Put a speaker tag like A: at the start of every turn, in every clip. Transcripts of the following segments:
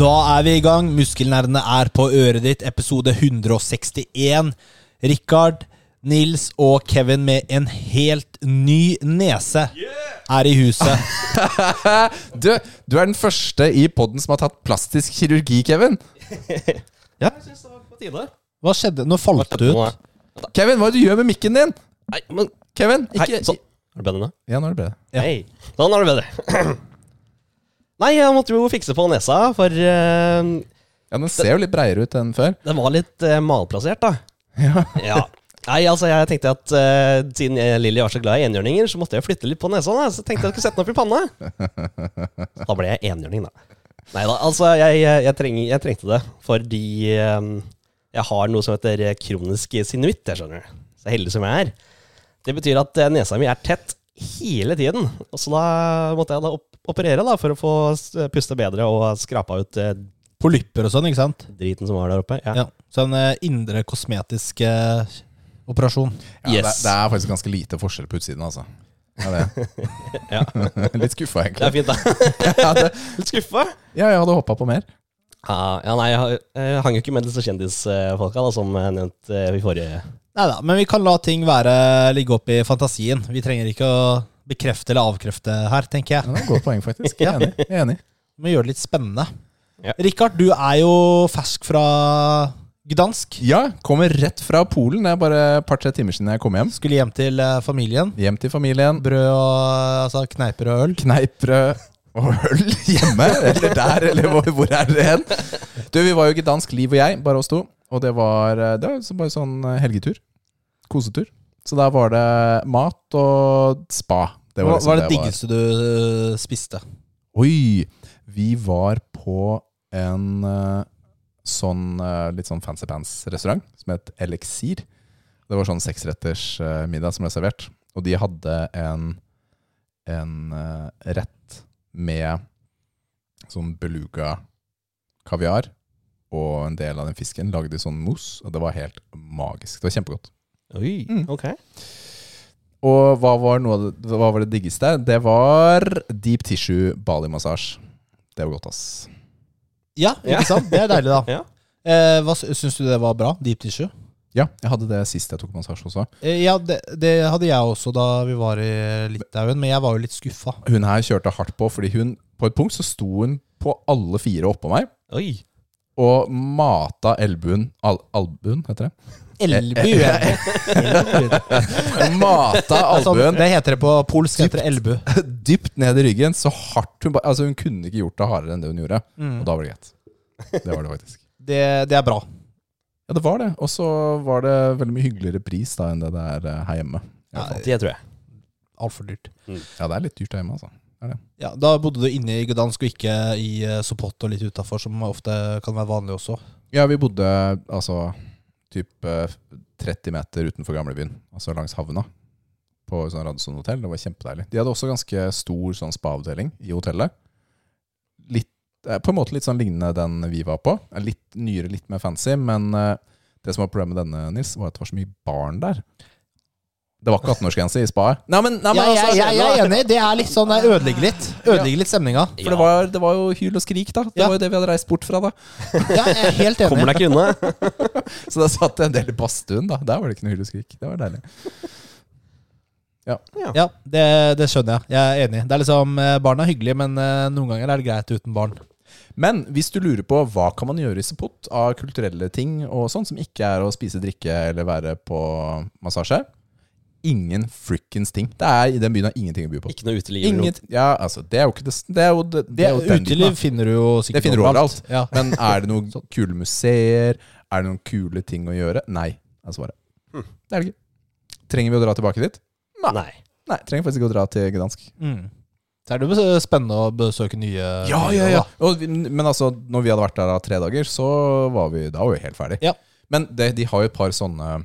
A: Da er vi i gang. Muskelnervene er på øret ditt, episode 161. Rikard, Nils og Kevin med en helt ny nese er i huset.
B: Du, du er den første i podden som har tatt plastisk kirurgi, Kevin.
A: Hva skjedde? Nå falt du
C: Nå
A: ut.
C: er-
B: Kevin, hva er det du gjør med mikken din?
C: Nei, men
B: Kevin, ikke
C: Hei, sånn. Er det bedre nå?
B: Ja, nå er det bedre.
C: Hei. Sånn er det bedre. Nei, jeg måtte jo fikse på nesa, for eh,
B: Ja, den ser jo litt breiere ut enn før.
C: den var litt eh, malplassert, da.
B: Ja.
C: Ja. Nei, altså, jeg tenkte at eh, siden eh, Lilly var så glad i enhjørninger, så måtte jeg flytte litt på nesa. Da. Så tenkte jeg at jeg skulle sette den opp i panna. Så da ble jeg enhjørning, da. Nei da, altså, jeg, jeg, jeg, treng, jeg trengte det fordi eh, jeg har noe som heter eh, kronisk sinuitt, jeg skjønner du. Så heldig som jeg er. Det betyr at eh, nesa mi er tett hele tiden. Og så da måtte jeg da op operere da, for å få s- puste bedre og skrapa ut eh,
A: Polypper og sånn, ikke sant?
C: driten som var der oppe. Ja.
A: Ja. Sånn eh, indre kosmetisk eh, operasjon.
B: Ja, det,
C: Yes.
B: det er faktisk ganske lite forskjell på utsiden, altså. Ja, det.
C: Ja.
B: Litt skuffa,
C: Det er
B: egentlig.
C: fint, da.
B: Ja, det,
C: Litt skuffa.
B: ja, jeg hadde hoppa på mer.
C: Ja, ja, nei, jeg har- jeg hang jo ikke med disse kjendisfolka da, som jeg nevnte eh, i forrige
A: Nei da, men vi kan la ting være, ligge opp i fantasien. Vi trenger ikke å bekrefte eller avkrefte her, tenker jeg.
B: Ja, det var et godt poeng, faktisk. Jeg er enig. Jeg er enig.
A: Vi må gjøre det litt spennende.
C: Ja.
A: Rikard, du er jo fersk fra Gdansk.
B: Ja, kommer rett fra Polen. Det er bare et par-tre timer siden jeg kom hjem.
A: Skulle hjem til eh, familien.
B: Hjem til familien.
A: Brød og altså, kneiper og øl.
B: kneippbrød og øl hjemme, eller der, eller hvor, hvor er det hen? Du, vi var jo ikke dansk, Liv og jeg, bare oss to. Og det var, det var så- bare sånn helgetur. Kosetur. Så der var det mat og spa. Det
A: Hva
B: liksom
A: var det
B: var.
A: diggeste du øh, spiste?
B: Oi! Vi var på en eh, sånn eh, litt sånn fancy pants-restaurant som het Elixir. Det var sånn seksretters eh, middag som ble servert. Og de hadde en, en eh, rett med sånn beluga-kaviar og en del av den fisken lagd i sånn mousse, og det var helt magisk. Det var kjempegodt.
C: Oi,
B: Mm.
C: ok.
B: Og hva var, noe, av det- hva var det diggeste? Det var deep tissue Bali-massasje. Det var godt, ass.
A: Ja, ikke sant? Det er deilig, da.
C: Ja.
A: Eh, hva sy- Syns du det var bra? Deep tissue?
B: Ja, jeg hadde det sist jeg tok massasje også.
A: Eh, ja, det, det hadde jeg også da vi var i Litauen, men jeg var jo litt skuffa.
B: Hun her kjørte hardt på, fordi hun På et punkt så sto hun på alle fire oppå meg
C: Oi.
B: og mata elbuen al, Albuen, heter det?
A: Elbu! Elbu.
B: Mata
A: Altså,
B: albuen
A: det heter det på polsk. heter det elbu.
B: dypt ned i ryggen, så hardt hun bare Altså, hun kunne ikke gjort det hardere enn det hun gjorde.
A: Mm.
B: Og da var det greit. Det var det faktisk.
A: Det, det er bra.
B: Ja, det var det. Og så var det veldig mye hyggeligere pris da enn det det er eh, her hjemme. i hvert fall.
C: Det tror jeg.
A: Altfor dyrt.
B: Ja, det er litt dyrt her hjemme, altså.
A: Ja, Da bodde du inne i Gdansk og ikke i eh, Sopot og litt utafor, som ofte kan være vanlig også.
B: Ja, vi bodde altså typ eh, 30 meter utenfor gamlebyen, altså langs havna, på sånn Radisson hotell. Det var kjempedeilig. De hadde også ganske stor sånn spa-avdeling i hotellet. Litt, eh, på en måte litt sånn lignende den vi var på. Eh, Litt nyere, litt mer fancy, men eh, det som var problemet med denne, Nils, var at det var så mye barn der. Det var ikke 18-årsgrense i spaet. Nei, men, nei, men
A: Ja,
B: altså,
A: jeg, jeg, jeg er enig. Det er litt sånn, det ødelegger litt. Ødelegger litt stemninga.
B: For det var, det var jo hyl og skrik, da. Det
A: Ja.
B: var jo det vi hadde reist bort fra, da.
A: Ja, jeg er helt enig.
C: Kommer deg ikke unna.
B: Så da satt jeg en del i badstuen, da. Der var det ikke noe hyl og skrik. Det var deilig.
A: Ja, det, det skjønner jeg. Jeg er enig. Det er liksom, eh, Barn er hyggelige, men eh, noen ganger er det greit uten barn.
B: Men hvis du lurer på hva kan man gjøre i Sepot av kulturelle ting og sånn, som ikke er å spise, drikke eller være på massasje Ingen frikkens ting. Det er i den byen er ingenting å by på.
C: Ikke noe uteliv. eller noe.
B: Inget, ja, altså, det er jo ikke det, det er jo, det, det er jo den biten, da.
A: Uteliv finner du jo sikkert
B: Det finner du overalt.
A: Ja.
B: Men er det noen kule museer? Er det noen kule ting å gjøre? Nei, er svaret. Det er det ikke. Trenger vi å dra tilbake dit?
C: Nei.
B: Nei, trenger faktisk ikke å dra til Gdansk.
A: Mm. Så er det jo spennende å besøke nye
B: Ja,
A: byer,
B: ja, ja.
A: da.
B: Og, vi- men altså, når vi hadde vært der da tre dager, så var vi, da var vi helt ferdig.
A: Ja.
B: Men det, de har jo et par sånne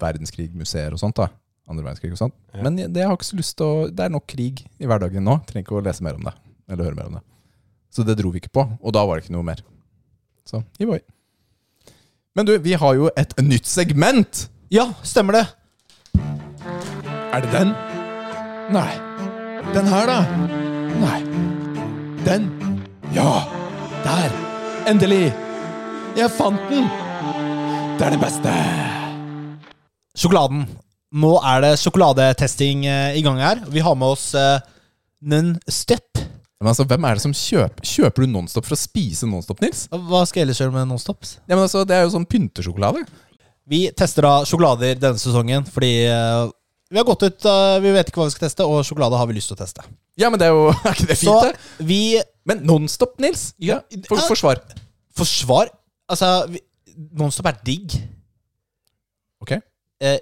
B: verdenskrigmuseer og sånt da. Andre verdenskrig og sånt.
C: Ja.
B: Men jeg, det jeg har ikke så lyst til å, det er nok krig i hverdagen nå. Trenger ikke å lese mer om det, eller høre mer om det. Så det dro vi ikke på, og da var det ikke noe mer. Så, hivoi. Men du, vi har jo et nytt segment!
A: ja, stemmer det!
B: Er det den? Nei. Den her, da? Nei. Den? Ja! Der! Endelig! Jeg fant den! Det er det beste!
A: sjokoladen. Nå er det sjokoladetesting eh, i gang her. Vi har med oss eh, Nonstep.
B: Men altså, Hvem er det som kjøper Kjøper du Nonstop for å spise Nonstop, Nils?
A: Hva skal jeg ellers gjøre med Nonstops?
B: Ja, men altså, Det er jo sånn pyntesjokolade.
A: Vi tester da sjokolader denne sesongen fordi eh, vi har gått ut, eh, vi vet ikke hva vi skal teste, og sjokolade har vi lyst til å teste.
B: Ja, men det er jo Er ikke det
A: Så
B: fint, det?
A: vi
B: Men Nonstop, Nils? Ja, for,
A: Ja.
B: Forsvar.
A: forsvar Altså, vi, Nonstop er digg.
B: Ok.
A: Eh,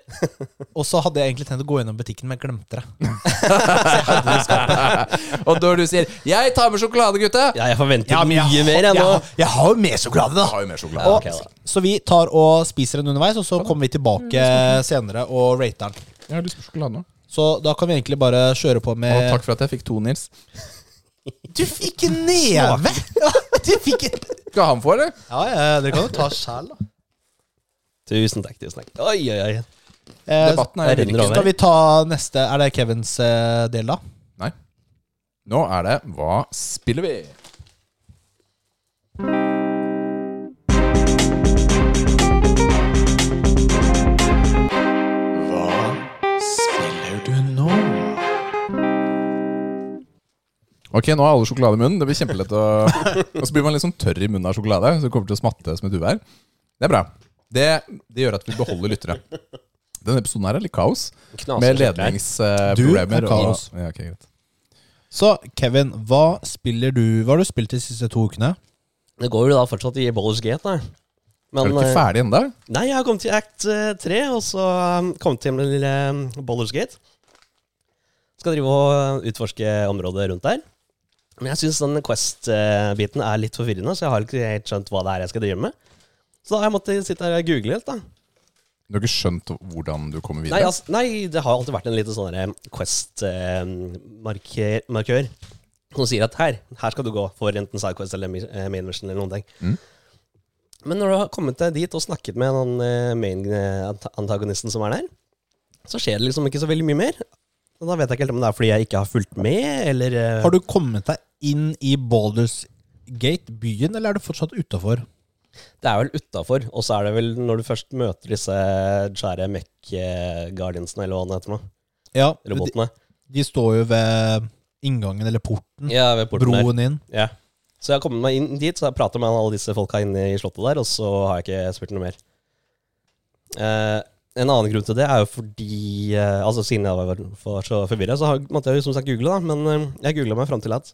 A: og så hadde jeg egentlig tenkt å gå gjennom butikken, men jeg glemte det. Så jeg hadde det i skapet.
B: Og når du sier 'Jeg tar med sjokolade, gutta',
C: Ja, jeg forventer
A: men
C: mye
A: jeg,
C: mer
A: har- jeg,
C: enn nå.
A: har- jeg har jo mer sjokolade, da.
B: har jo mer sjokolade.
C: Ja,
A: Og,
C: ok, da.
A: så vi tar og spiser den underveis, og så kommer vi tilbake senere og rater den.
B: Jeg har lyst på sjokolade nå.
A: Så da kan vi egentlig bare kjøre på
B: Og
A: med
B: takk for at jeg fikk to, Nils.
A: Du fikk en neve! Ja, du fikk en
B: Skal han få, eller?
A: Ja, ja, dere kan jo ta sjæl, da.
C: Tusen takk. tusen takk Oi, oi, oi.
A: Eh,
B: Debatten
C: jeg
B: er jo
C: renner over.
A: skal vi ta neste Er det Kevins eh, del, da?
B: Nei. Nå er det Hva spiller vi? Hva spiller du nå? Ok, nå har alle sjokolade i munnen. Det blir kjempelett å Og så blir man litt sånn tørr i munnen av sjokolade, så det kommer til å smatte som et uvær. Det er bra. Det, det gjør at vi beholder lyttere. Denne episoden her er litt kaos.
C: Knaser
B: Med
C: skikkelig her.
A: Du
B: ledningsproblemer.
A: er kaos.
B: ja, ok, greit.
A: Så Kevin, hva spiller du Hva har du spilt de siste to ukene?
C: Det går jo da fortsatt i Ballers Gate, da.
B: er
C: Men,
B: du ikke
C: eh,
B: ferdig ennå?
C: nei, jeg har kommet til Act eh, 3, og så um, kommet til den lille um, Ballers Gate. Skal drive og uh, utforske området rundt der. Men jeg syns den Quest-biten er litt forvirrende, så jeg har ikke helt skjønt hva det er jeg skal drive med. Så da har jeg måttet sitte her og google litt, da.
B: Du har ikke skjønt hvordan du kommer
C: Nei,
B: videre?
C: altså, nei, det har alltid vært en liten sånn der, eh, Quest-markør som sier at her, her skal du gå for enten Sidequest eller mi- eh, Main Mission eller noen ting.
B: Mm.
C: Men når du har kommet deg dit og snakket med den eh, main eh, ant- antagonisten som er der, så skjer det liksom ikke så veldig mye mer. Og da vet jeg ikke helt om det er fordi jeg ikke har fulgt med, eller eh,
A: Har du kommet deg inn i Balders Gate, byen, eller er du fortsatt utafor?
C: Det er vel utafor, og så er det vel når du først møter disse svære mech-guardiansene, eller hva det heter nå,
A: Ja, de,
C: robotene.
A: de står jo ved inngangen, eller porten,
C: Ja, ved porten der.
A: broen inn.
C: Ja. Så jeg har kommet meg inn dit, så jeg prater med alle disse folka inne i slottet der, og så har jeg ikke spurt noe mer. Eh, en annen grunn til det er jo fordi eh, Altså Siden jeg var for så forvirra, så har, måtte jeg jo som sagt google, da. Men eh, jeg googla meg fram til at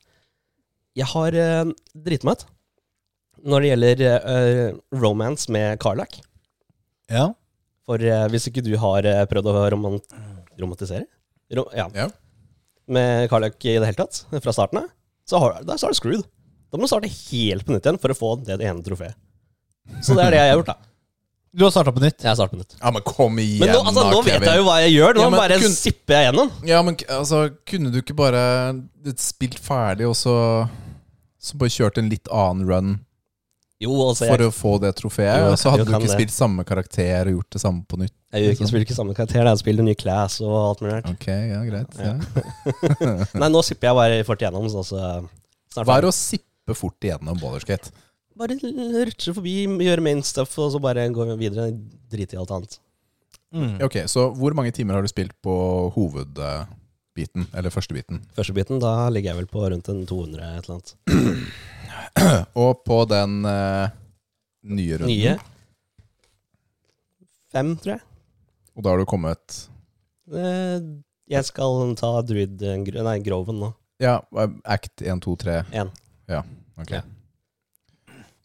C: jeg har eh, driti meg ut når det gjelder eh, romance med Carlac.
A: Ja.
C: For eh, hvis ikke du har eh, prøvd å romant romantisere Ro ja.
B: Ja.
C: med Carlac i det hele tatt, fra starten av, så, har, da, så er du screwed. Da må du starte helt på nytt igjen for å få det ene trofeet. Så det er det jeg har gjort, da.
A: Du har starta på nytt.
C: Jeg har startet på nytt.
B: Ja, men kom igjen,
C: Men nå, altså, nå vet jeg jo hva jeg gjør. Nå
B: Ja, men
C: bare
B: kun-
C: sipper jeg gjennom.
B: Ja, men altså, kunne du ikke bare spilt ferdig, og så, så bare kjørt en litt annen run
C: Jo, altså,
B: for
C: jeg,
B: å få det trofeet?
C: Jo,
B: og så hadde
C: jo,
B: du
C: kan
B: ikke
C: det.
B: spilt samme karakter og gjort det samme på nytt?
C: jeg gjør ikke, spiller ikke samme karakter. da. Jeg spiller nye class og alt mulig rart.
B: Ok, ja, greit. Ja.
C: Nei, nå sipper jeg bare fort igjennom. Så, så snart
B: Hva
C: ferdig.
B: er å sippe fort igjennom Ballerskate?
C: Bare rutsje forbi, gjøre main stuff, og så bare gå videre. Drite i alt annet.
A: Mm.
B: Ok, så hvor mange timer har du spilt på hovedbiten, eller første biten?
C: Første biten, da ligger jeg vel på rundt en 200 et eller annet.
B: Og på den eh, nye runden?
C: Nye. Fem, tror jeg.
B: Og da har du kommet
C: Eh, Jeg skal ta druid eh, gr- Nei, Groven nå.
B: Ja, act 1, 2, 3.
C: En.
B: Ja, ok.
C: Ja.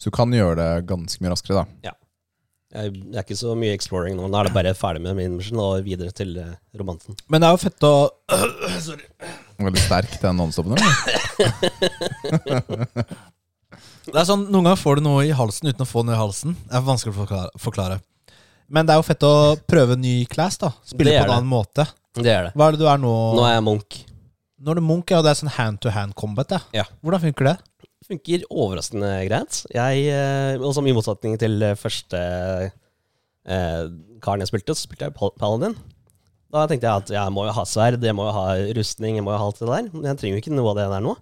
B: Så du kan gjøre det ganske mye raskere, da.
C: Jeg det er ikke så mye exploring nå. Nå er det bare ferdig med min mission og videre til eh, romansen.
A: Men det er jo fett å
B: Veldig sterk, den nonstopen. eller?
A: Det er sånn, Noen ganger får du noe i halsen uten å få noe i halsen. Det er vanskelig å forklare. forklare. Men det er jo fett å prøve ny class. da Spille
C: Det
A: på
C: er
A: en annen måte.
C: Det er det.
A: Hva er det du er nå?
C: Nå er jeg Munch.
A: Nå er du Munch, ja, og det er sånn hand to hand combat.
C: Ja.
A: Hvordan funker det?
C: Funker overraskende greit. Jeg, eh, og som I motsetning til eh, første eh, karen jeg spilte, så spilte jeg Pal- Paladin. Da tenkte jeg at jeg må jo ha sverd, jeg må jo ha rustning, jeg må jo ha alt det der. Men jeg trenger jo ikke noe av det der nå.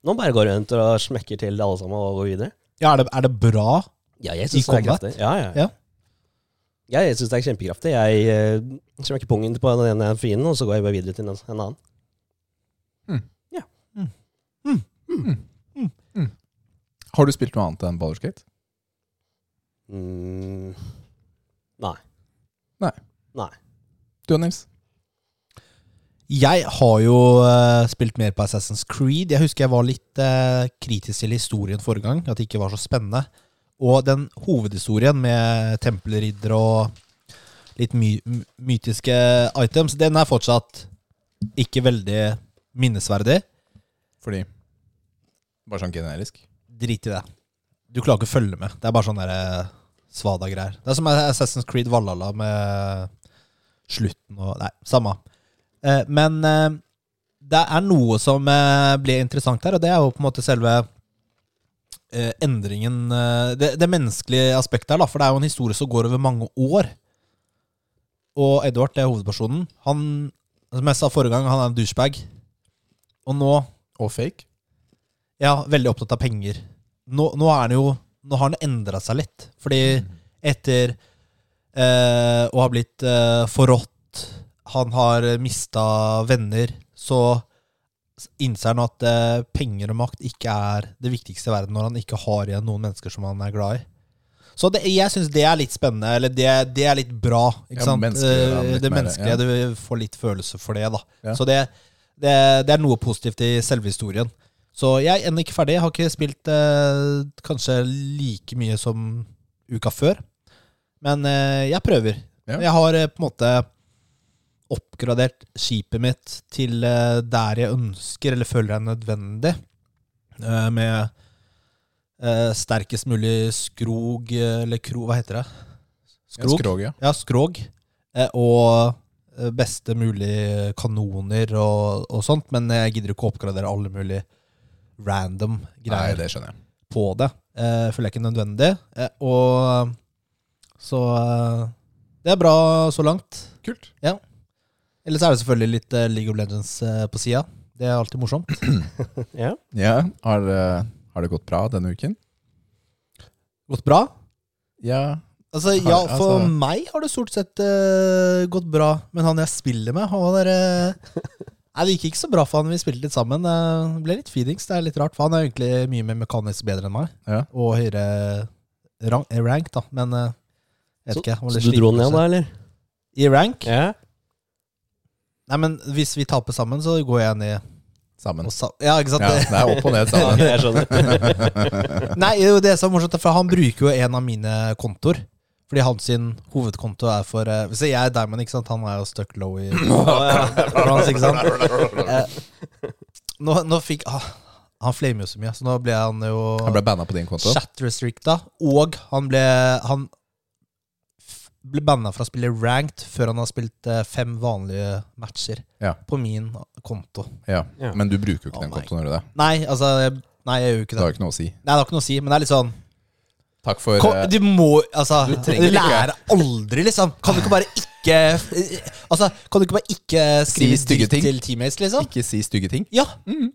C: Nå bare går jeg rundt og smekker til alle sammen og går videre.
A: Ja, er det, er det bra?
C: Ja, jeg
A: I
C: syns det er
A: combat?
C: kraftig. Ja, ja.
A: Ja.
C: Ja, jeg syns det er kjempekraftig. Jeg eh, smekker pungen på den ene fienden, og så går jeg bare videre til en, en annen.
B: Har du spilt noe annet enn Baldur's Gate?
C: Mm. Nei.
B: Nei.
C: Nei.
B: Du og Nils?
A: Jeg har jo eh, spilt mer på Assassin's Creed. Jeg husker jeg var litt eh, kritisk til historien forrige gang, at det ikke var så spennende. Og den hovedhistorien med tempelriddere og litt my m- mytiske items, den er fortsatt ikke veldig minnesverdig.
B: Fordi Bare sånn generisk.
A: Drit i det. Du klarer ikke å følge med. Det er bare sånne der, eh, svada-greier. Det er som Assassin's Creed Valhalla med slutten og Nei, samme. Eh, Men eh, det er noe som eh, blir interessant her, og det er jo på en måte selve eh, endringen eh, det, det menneskelige aspektet her, da. For det er jo en historie som går over mange år. Og Edward, det er hovedpersonen, han Som jeg sa forrige gang, han er en douchebag. Og nå
B: Og fake.
A: ja, veldig opptatt av penger. Nå, nå er han jo Nå har han endra seg litt. Fordi etter eh, å ha blitt eh, forrådt, han har mista venner, så innser han at eh, penger og makt ikke er det viktigste i verden når han ikke har igjen noen mennesker som han er glad i. Så det, jeg syns det er litt spennende, eller det, det er litt bra. Ikke
B: Ja,
A: sant?
B: menneskeliggjør han
A: Eh,
B: litt
A: det
B: mer,
A: menneskelige,
B: ja.
A: du får litt følelse for det, da.
B: Ja.
A: Så det, det, det er noe positivt i selve historien. Så jeg er ennå ikke ferdig. Jeg har ikke spilt eh, kanskje like mye som uka før. Men eh, jeg prøver.
B: Ja.
A: Jeg har eh, på en måte oppgradert skipet mitt til eh, der jeg ønsker, eller føler er nødvendig. Eh, med eh, sterkest mulig skrog, eh, eller kro, hva heter det?
B: Skrog. Ja, skrog, ja.
A: Ja, skrog. Eh, Og eh, beste mulig kanoner og, og sånt, men jeg gidder ikke å oppgradere alle mulige random
B: Nei,
A: greier
B: det skjønner jeg.
A: på det. Eh, føler jeg ikke nødvendig. Eh, og så eh, Det er bra så langt.
B: Kult.
A: Ellers er det selvfølgelig litt eh, League of Legends eh, på sida. Det er alltid morsomt.
C: Ja.
B: Ja, har, eh, har det gått bra denne uken?
A: Gått bra?
B: Ja.
A: Altså,
B: Har-
A: ja, for
B: altså-
A: meg har det stort sett eh, gått bra. Men han jeg spiller med, han der eh, Nei, det gikk ikke så bra for han vi spilte litt sammen. Eh, Det ble litt feedings. Det er litt rart, for han er egentlig mye mer mekanisk bedre enn meg.
B: Ja.
A: Og høyere rank, rank da. Men eh, jeg vet
C: Så,
A: ikke. jeg var
C: så
A: litt
C: du dro
A: sliten,
C: ned
A: kanskje.
C: da, eller?
A: I rank?
C: Ja.
A: Nei, men hvis vi taper sammen, så går jeg ned
B: Sammen.
A: og sa... Ja, ikke sant?
B: Ja, det er opp og ned sammen.
C: Jeg skjønner.
A: Nei, det er jo det som er morsomt, for han bruker jo en av mine kontoer. Fordi hans sin hovedkonto er for eh, Se, jeg er Diamond, ikke sant? Han er jo stuck low i bronze, ikke sant? Eh, Nå, nå fikk ah, Han flamer jo så mye, så nå ble han jo
B: Han ble banna på din konto.
A: chat restricta. Og han ble Han f- ble banna fra å spille ranked før han har spilt eh, fem vanlige matcher
B: Ja.
A: på min konto.
B: Ja.
C: Ja.
B: Men du bruker jo
A: Å,
B: ikke den
A: nei.
B: kontoen, gjør du det?
A: Nei, altså jeg- Nei, jeg gjør jo ikke
B: Det
A: det.
B: har jo ikke noe å si.
A: Nei, det har ikke noe å si, men det er litt sånn
B: Takk for
A: Kom,
B: eh,
A: du må Altså,
B: Du
A: du
B: trenger ikke.
A: lærer aldri, liksom. Kan du ikke bare ikke Altså, kan du ikke bare ikke skrive
B: Si stygge
A: dritt
B: ting.
A: til teammates, liksom?
B: Ikke si stygge ting.
A: Ja.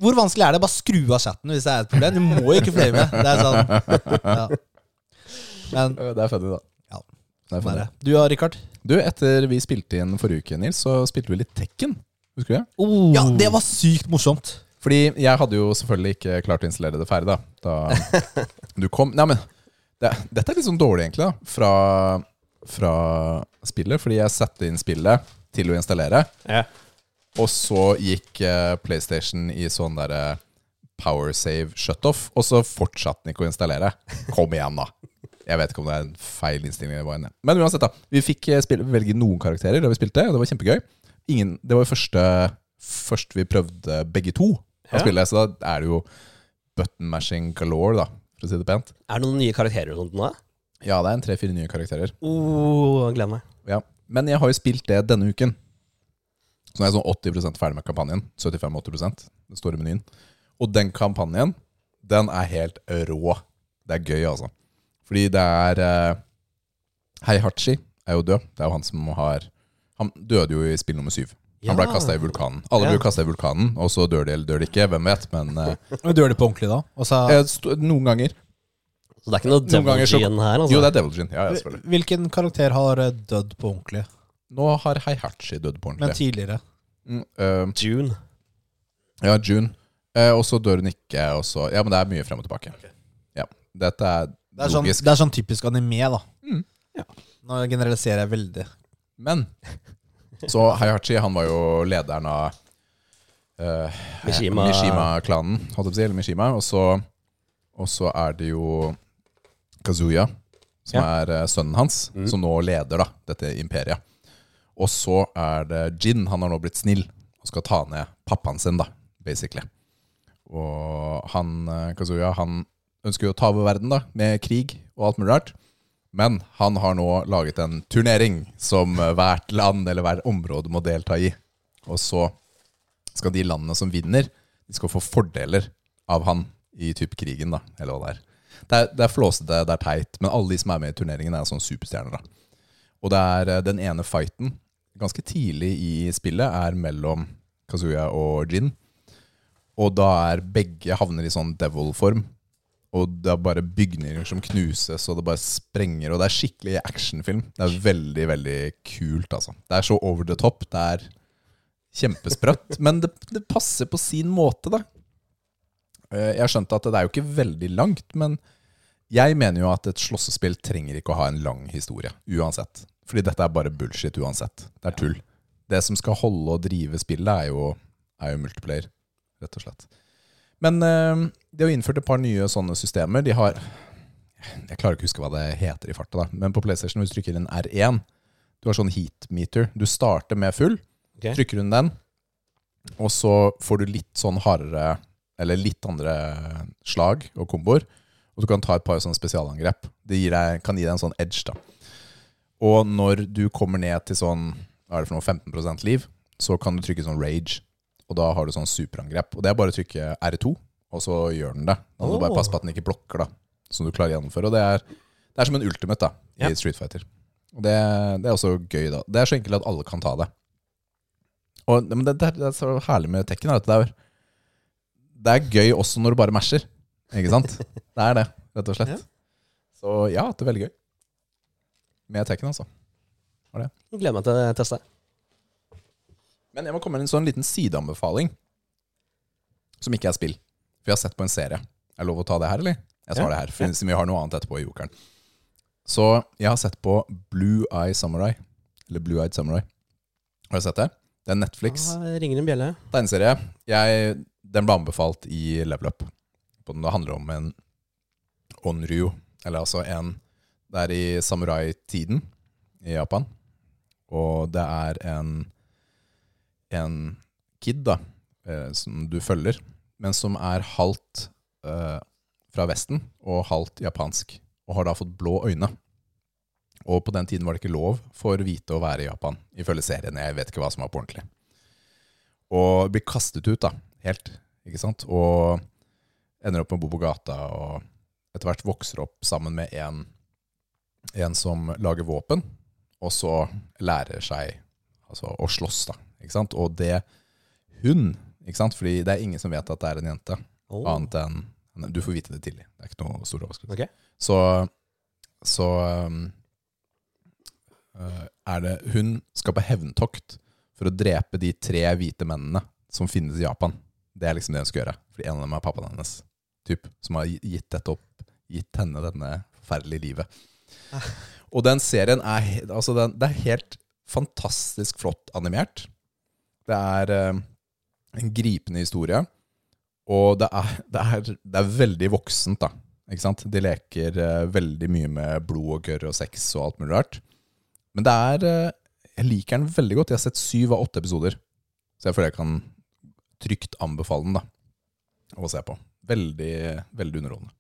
A: Hvor vanskelig er det? Bare skru av chatten hvis det er et problem. Du må ikke fløye med. Det er sånn ja. Men
B: Det er funny, da.
A: Ja.
B: Det er
A: sånn er
B: funny.
A: det. Du og Richard?
B: Du, etter vi spilte inn forrige uke, Nils, så spilte vi litt Tekken. Husker du det?
A: Ja, det var sykt morsomt.
B: Fordi jeg hadde jo selvfølgelig ikke klart å installere det ferdig da, da du kom. Nei, men det, dette er litt sånn dårlig, egentlig, da, fra, fra spillet. Fordi jeg satte inn spillet til å installere,
C: Ja.
B: og så gikk eh, PlayStation i sånn derre power save shutoff, og så fortsatte den ikke å installere. Kom igjen, da. Jeg vet ikke om det er en feil innstilling. eller hva enn det er. Men uansett, da. Vi fikk eh, spille, velge noen karakterer da vi spilte, og det var kjempegøy. Ingen, det var jo første først vi prøvde begge to å
C: Ja.
B: spille. Så da er det jo button mashing galore, da, for å si det pent.
C: Er det noen nye karakterer rundt nå?
B: Ja, det er en tre-fire nye karakterer.
C: Oh, gleder meg.
B: Ja. Men jeg har jo spilt det denne uken. Så nå er jeg sånn 80 ferdig med kampanjen. 75-80 den store menyen. Og den kampanjen, den er helt rå. Det er gøy, altså. Fordi det er eh, Heihachi er jo død. Det er jo han som har Han døde jo i spill nummer syv. Han ble
C: Ja.
B: kasta i vulkanen. Alle
C: Ja.
B: blir kasta i vulkanen, og så dør de eller dør de ikke. Hvem vet? Men eh,
A: Du gjør det på ordentlig da? Og så,
B: eh, st- noen ganger
C: Så det er ikke noe
B: Noen ganger så-
C: Devil-gen her, altså?
B: Jo, det er Devil Gin. Ja, ja, selvfølgelig.
A: hvilken karakter har eh, dødd på ordentlig?
B: Nå har Heihachi dødd på
A: Men
B: ordentlig.
A: tidligere?
B: Mm, eh,
C: June.
B: Ja, June. Eh, og så dør hun ikke. Og så, ja, men det er mye frem og tilbake. Ja, Dette er,
A: Det er, sånn,
B: logisk.
A: det er sånn typisk anime, da.
B: Mm, ja.
A: Nå generaliserer jeg veldig.
B: Men så Heihachi, han var jo lederen av eh,
C: Mishima.
B: Mishima-klanen, holdt jeg på å si. Eller Mishima. Og så, og så er det jo Kazuya, som er eh, sønnen hans, som nå leder da, dette imperiet. Og så er det Jin. Han har nå blitt snill og skal ta ned pappaen sin, da, basically. Og han, eh, Kazuya, han ønsker jo å ta over verden, da, med krig og alt mulig rart. Men han har nå laget en turnering som eh, hvert land eller hvert område må delta i. Og så skal de landene som vinner, de skal få fordeler av han i typ krigen, da, eller hva det er. Det er, det er flåsete, det er teit, men alle de som er med i turneringen, er sånn superstjerner, da. Og det er eh, den ene fighten, ganske tidlig i spillet, er mellom Kazuya og Jin. Og da er begge havner i sånn devil-form. Og det er bare bygninger som knuses, og det bare sprenger. Og det er skikkelig actionfilm. Det er veldig, veldig kult, altså. Det er så over the top. Det er kjempesprøtt. men det, det passer på sin måte, da. Eh, Jeg har skjønt at det er jo ikke veldig langt, men jeg mener jo at et slåssespill trenger ikke å ha en lang historie, uansett. Fordi dette er bare bullshit uansett. Det er tull. Det som skal holde og drive spillet, er jo, er jo multiplayer, rett og slett. Men eh, de har innført et par nye sånne systemer. De har Jeg klarer ikke å huske hva det heter i farta, da. Men på PlayStation, hvis du trykker inn R1, du har sånn heat meter. Du starter med full,
C: Ok.
B: trykker hun den, og så får du litt sånn hardere Eller litt andre slag og komboer. Og du kan ta et par sånne spesialangrep. Det gir deg, kan gi deg en sånn edge, da. Og når du kommer ned til sånn Hva er det for noe, 15 liv, så kan du trykke sånn rage. Og da har du sånn superangrep. Og det er bare å trykke R2, og så gjør den det. Da må du bare
C: Åh.
B: passe på at den ikke blokker, da. Som du klarer å gjennomføre. Og det er, det er som en ultimate da,
C: Ja.
B: i Street Fighter. Og det, det er også gøy, da. Det er så enkelt at alle kan ta det. Og, men det, det, er- det er så herlig med tekken, er at det er, det er gøy også når du bare masher. Ikke sant? Det er det, rett og slett.
C: Ja.
B: Så ja, det er veldig gøy. Med tekken, altså.
C: Gleder meg til å teste.
B: Men jeg må komme med en sånn liten sideanbefaling. Som ikke er spill. For jeg har sett på en serie. Er det lov å ta det her, eller? Jeg tar
C: Ja,
B: det her, for siden vi har noe annet etterpå i jokeren. Så jeg har sett på Blue Eye Samurai. Eller Blue Eyed Samurai. Har du sett det? Det er Netflix.
C: Ah, ringer en bjelle.
B: tegneserie. Jeg, den ble anbefalt i Level Up. På den det handler om en onryu, eller altså en Det er i samurai-tiden i Japan. Og det er en, en kid da, eh, som du følger, men som er halvt eh, fra Vesten og halvt japansk. Og har da fått blå øyne. Og på den tiden var det ikke lov for hvite å være i Japan, ifølge serien. Jeg vet ikke hva som var på ordentlig og blir kastet ut da, helt, ikke sant? Og ender opp med å bo på gata, og etter hvert vokser opp sammen med en, en som lager våpen, og så lærer seg altså, å slåss da, ikke sant? Og det hun, ikke sant? Fordi det er ingen som vet at det er en jente,
C: Oh.
B: annet enn, du får vite det tidlig, det er ikke noe stor overskrift.
C: Ok.
B: Så, så um, eh, er det Hun skal på hevntokt for å drepe de tre hvite mennene som finnes i Japan. Det er liksom det hun skal gjøre. Fordi en av dem er pappaen hennes, typ, som har gi- gitt dette opp. Gitt henne denne forferdelige livet. Og den serien er, he- altså den, det er helt fantastisk flott animert. Det er eh, en gripende historie. Og det er, det er, det er veldig voksent, da. Ikke sant? De leker eh, veldig mye med blod og gørr og sex og alt mulig rart. Men det er eh, Jeg liker den veldig godt. Jeg har sett syv av åtte episoder. Så jeg føler jeg kan trygt anbefale den da, å se på. Veldig, veldig underholdende.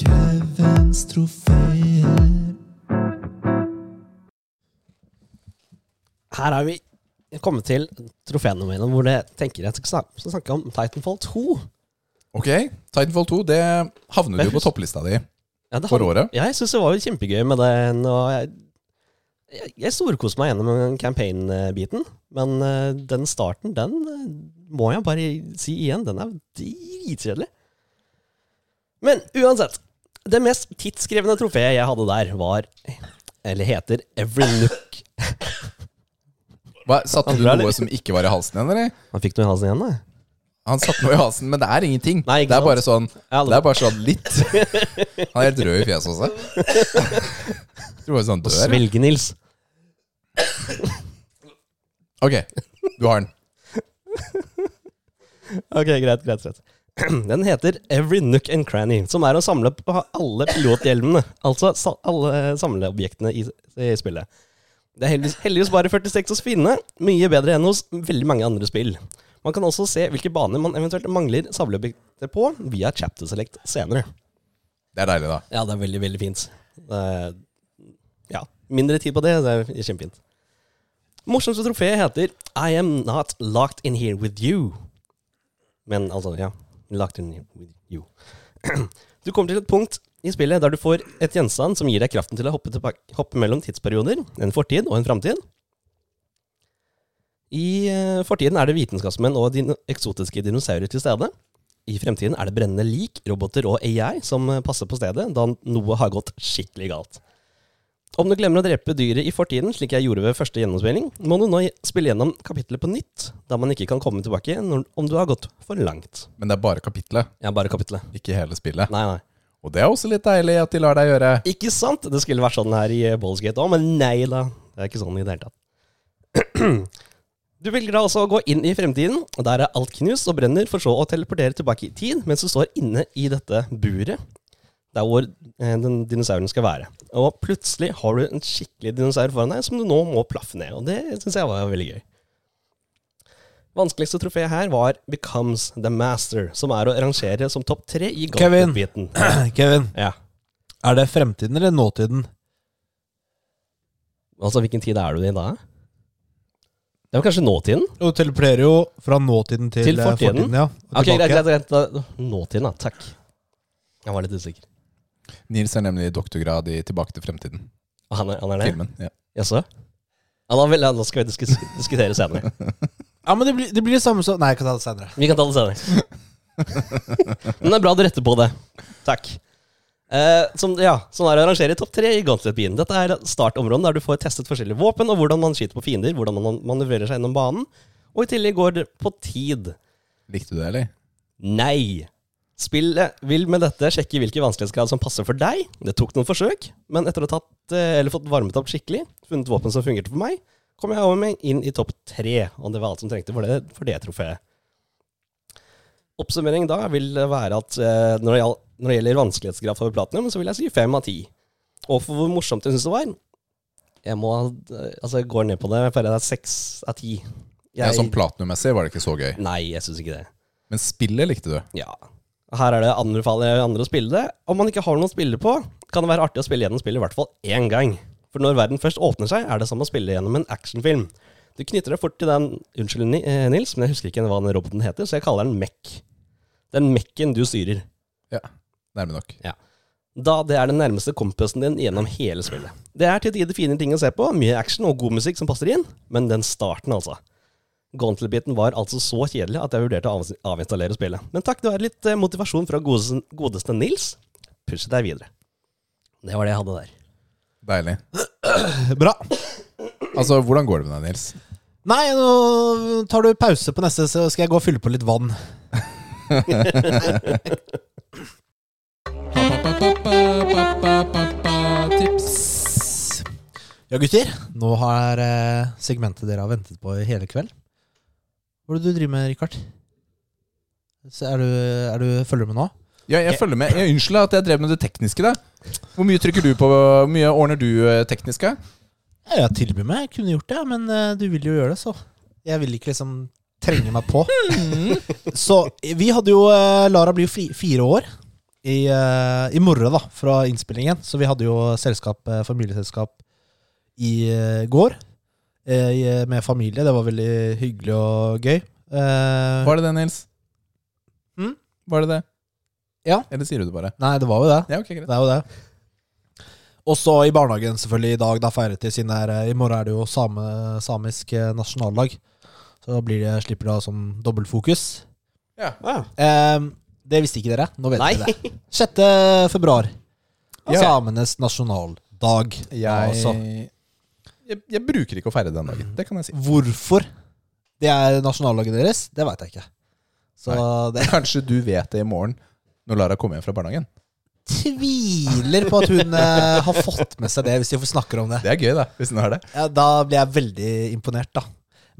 B: Kevins trofeer.
C: Her har vi kommet til trofeenomenen hvor jeg tenker jeg skal snakke, skal snakke om Titanfall 2.
B: Ok, Titanfall 2, det havnet jo på topplista di
C: Ja, det
B: for
C: handler-
B: året.
C: Ja, jeg syns det var jo kjempegøy med den. Og jeg, jeg, jeg storkoste meg gjennom campaign-biten. Men eh, den starten, den eh, må jeg bare si igjen, den er dritkjedelig. Men uansett. Det mest tidskrevende trofeet jeg hadde der, var Eller heter Every Nook.
B: Hva, satte du
C: Andre er
B: noe
C: litt-
B: som ikke var i halsen igjen, eller?
C: Han fikk noe i halsen igjen, da.
B: Han satte noe i halsen, men det er ingenting.
C: Nei, ikke
B: det
C: sant?
B: er bare sånn
C: Ja, det-
B: Det er bare sånn litt. Han er helt rød i fjeset også. Tror bare sånn dør.
C: Svelge, Nils.
B: Ok, du har den.
C: Ok, greit, greit, greit. Den heter Every Nook and Cranny, som er å samle på alle pilothjelmene. Altså sa alle samleobjektene i, i spillet. Det er heldigvis, heldigvis bare 46 å finne, mye bedre enn hos veldig mange andre spill. Man kan også se hvilke baner man eventuelt mangler samleobjekter på via chapter select senere.
B: Det er deilig, da.
C: Ja, det er veldig, veldig fint. Eh, ja, mindre tid på det, det er kjempefint. Morsomste trofé heter I am not locked in here with you. Men altså, ja. Locked in here with you. Du kommer til et punkt i spillet der du får et gjenstand som gir deg kraften til å hoppe, tilbake, hoppe mellom tidsperioder, en fortid og en framtid. I eh, fortiden er det vitenskapsmenn og dino eksotiske dinosaurer til stede. I fremtiden er det brennende lik, roboter og AI som eh, passer på stedet, da noe har gått skikkelig galt. Om du glemmer å drepe dyret i fortiden, slik jeg gjorde ved første gjennomspilling, må du nå i- spille gjennom kapittelet på nytt, da man ikke kan komme tilbake når, om du har gått for langt.
B: Men det er bare kapitlet,
C: Ja, bare kapittelet.
B: ikke hele spillet.
C: Nei, nei.
B: Og det er også litt deilig at de lar deg gjøre.
C: Ikke sant? Det skulle vært sånn her i Ballsgate òg, men nei da. Det er ikke sånn i det hele tatt. Du velger da altså å gå inn i fremtiden, og der er alt knust og brenner, for så å teleportere tilbake i tid mens du står inne i dette buret. Der hvor eh, den dinosauren skal være. Og plutselig har du en skikkelig dinosaur foran deg som du nå må plaffe ned, og det syns jeg var veldig gøy. Vanskeligste trofé her var Becomes the Master, som er å rangere som topp tre i
A: Kevin.
C: golfbiten.
A: Kevin,
C: Ja.
A: er det fremtiden eller nåtiden?
C: Altså, hvilken tid er du i da? Det var kanskje nåtiden?
A: Jo, Du teleporterer jo fra nåtiden til,
C: Til
A: eh,
C: fortiden.
A: ja. og
C: Ok,
A: tilbake.
C: greit, greit, greit. Da- Nåtiden, da. Takk. Jeg var litt usikker.
B: Nils er nemlig doktorgrad i Tilbake til fremtiden.
C: Og Han er, han er det?
B: Filmen. Ja.
C: Jaså? Ja, da, vil, jeg- da skal vi diskus, diskutere senere.
A: Ja, men det blir det, blir det samme som Nei, jeg kan ta det senere.
C: Vi kan ta det senere. Men det er bra du retter på det. Takk. Eh, som, ja, som er å arrangere topp tre i Gauntlet-byen. Dette er startområdet der du får testet forskjellige våpen, og hvordan man skyter på fiender, hvordan man manøvrerer seg gjennom banen. Og i tillegg går det på tid.
B: Likte du det, eller?
C: Nei. Spillet vil med dette sjekke hvilke vanskelighetsgrad som passer for deg. Det tok noen forsøk, men etter å ha tatt, eh, eller fått varmet opp skikkelig, funnet våpen som fungerte for meg, kom jeg over meg inn i topp tre, og det var alt som trengte for det, for det trofeet. Oppsummering da vil være at eh, når det gjal- når det gjelder vanskelighetsgrad for platinum, så vil jeg si fem av ti. Og for hvor morsomt jeg syns det var Jeg må, eh, altså jeg går ned på det, jeg føler det er seks av ti.
B: Ja, sånn platinummessig var det ikke så gøy.
C: Nei, jeg syns ikke det.
B: Men spillet likte du.
C: Ja. Her er det anbefaler jeg andre å spille det. Om man ikke har noen å spille på, kan det være artig å spille gjennom spillet i hvert fall én gang. For når verden først åpner seg, er det som å spille gjennom en actionfilm. Du knytter deg fort til den Unnskyld, Ni- eh, Nils, men jeg husker ikke hva den roboten heter, så jeg kaller den Mech. Den Mechen du styrer.
B: Ja, Nærme nok.
C: Da det er den nærmeste kompassen din gjennom hele spillet. Det er til tider fine ting å se på, mye action og god musikk som passer inn, men den starten, altså. Gauntlet-biten var altså så kjedelig at jeg vurderte å avs- avinstallere spillet. Men takk, det var litt eh, motivasjon fra godeste, godeste Nils. Pushet deg videre. Det var det jeg hadde der.
B: Deilig.
A: Bra.
B: Altså, hvordan går det med deg, Nils?
A: Nei, nå tar du pause på neste, så skal jeg gå og fylle på litt vann.
B: Tips.
A: Ja, gutter. Nå har eh, segmentet dere har ventet på i hele kveld. Hva er det du driver med, Richard? Så Er du, er du, følger du med nå?
B: Ja, jeg følger med. Jeg Unnskyld at jeg drev med det tekniske. da Hvor mye trykker du på? Hvor mye ordner du eh, tekniske?
A: Ja, jeg tilbyr meg. Jeg kunne gjort det, men eh, du vil jo gjøre det, så. Jeg vil ikke liksom trenge meg på. Så vi hadde jo eh, Lara blir jo fri, fire år i, eh, i morgen, da, fra innspillingen. Så vi hadde jo selskap, eh, familieselskap i eh, går eh, i- med familie. Det var veldig hyggelig og gøy. Eh,
B: Var det det, Nils?
A: Mm?
B: Var det det?
A: Ja.
B: Eller sier du det bare?
A: Nei, det var jo det.
B: Ja, ok, greit.
A: Det er jo det. Og så i barnehagen selvfølgelig i dag, da feiret de sin der I morgen er det jo same, samisk eh, nasjonaldag. Så da blir det, slipper de å ha sånn dobbeltfokus. Eh, det visste ikke dere. Nå vet
C: Nei.
A: dere det. 6. februar.
B: Ja.
A: Samenes nasjonaldag. Altså,
B: Jeg, jeg, jeg bruker ikke å feire den dagen. Det kan jeg si.
A: hvorfor det er nasjonaldagen deres, det veit jeg ikke. Så det
B: Kanskje du vet det i morgen når Lara kommer hjem fra barnehagen.
A: tviler på at hun eh, har fått med seg det, hvis de snakker om det.
B: Det er gøy, da. Hvis hun har det.
A: Ja, da ble jeg veldig imponert, da.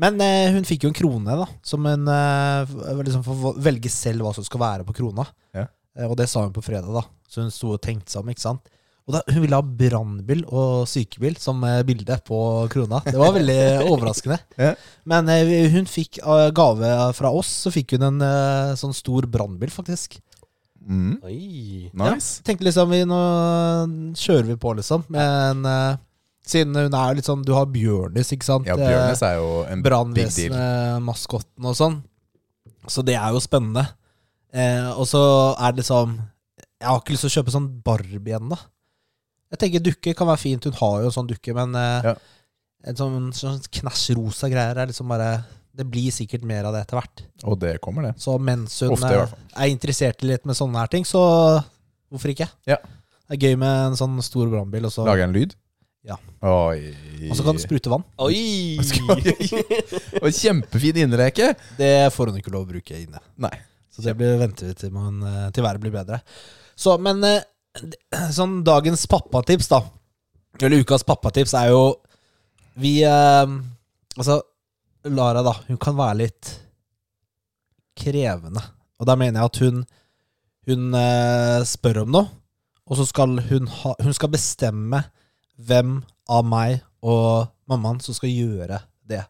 A: Men eh, hun fikk jo en krone, da. Som hun eh, liksom får velge selv hva som skal være på krona.
B: Ja.
A: Eh, og det sa hun på fredag, da. Så hun sto og tenkte seg om, ikke sant. Og da, hun ville ha brannbil og sykebil som eh, bilde på krona. Det var veldig overraskende.
B: Ja.
A: Men eh, hun fikk eh, gave fra oss, så fikk hun en eh, sånn stor brannbil, faktisk.
B: Mm.
C: Oi.
B: Nice.
A: Ja, tenkte liksom vi, Nå kjører vi på, liksom. Men eh, siden hun er jo litt sånn Du har Bjørnis, ikke sant?
B: Ja, Bjørnes er jo en big deal.
A: Brannvesenet-maskotten og sånn. Så det er jo spennende. Eh, og så er det liksom Jeg har ikke lyst til å kjøpe sånn Barbie ennå. Jeg tenker dukke kan være fint. Hun har jo en sånn dukke, men eh,
B: Ja.
A: en sånn, sånn knæsj rosa greier er liksom bare Det blir sikkert mer av det etter hvert.
B: Og det kommer, det.
A: Så mens hun
B: Ofte, i hvert
A: eh, er interessert i litt med sånne her ting, så hvorfor ikke?
B: Ja.
A: Det er gøy med en sånn stor brannbil, og så
B: Lager en lyd.
A: Ja.
B: Oi.
A: og så kan du sprute vann.
C: Oi.
B: Og kjempefin innreke.
A: Det får hun ikke lov å bruke inne.
B: Nei.
A: Så det blir, venter vi til, man, eh, til været blir bedre. Så, men eh, d- sånn dagens pappatips, da. Eller ukas pappatips er jo Vi eh, Altså, Lara, da. Hun kan være litt krevende. Og da mener jeg at hun Hun eh, spør om noe, og så skal hun ha Hun skal bestemme hvem av meg og mammaen som skal gjøre det.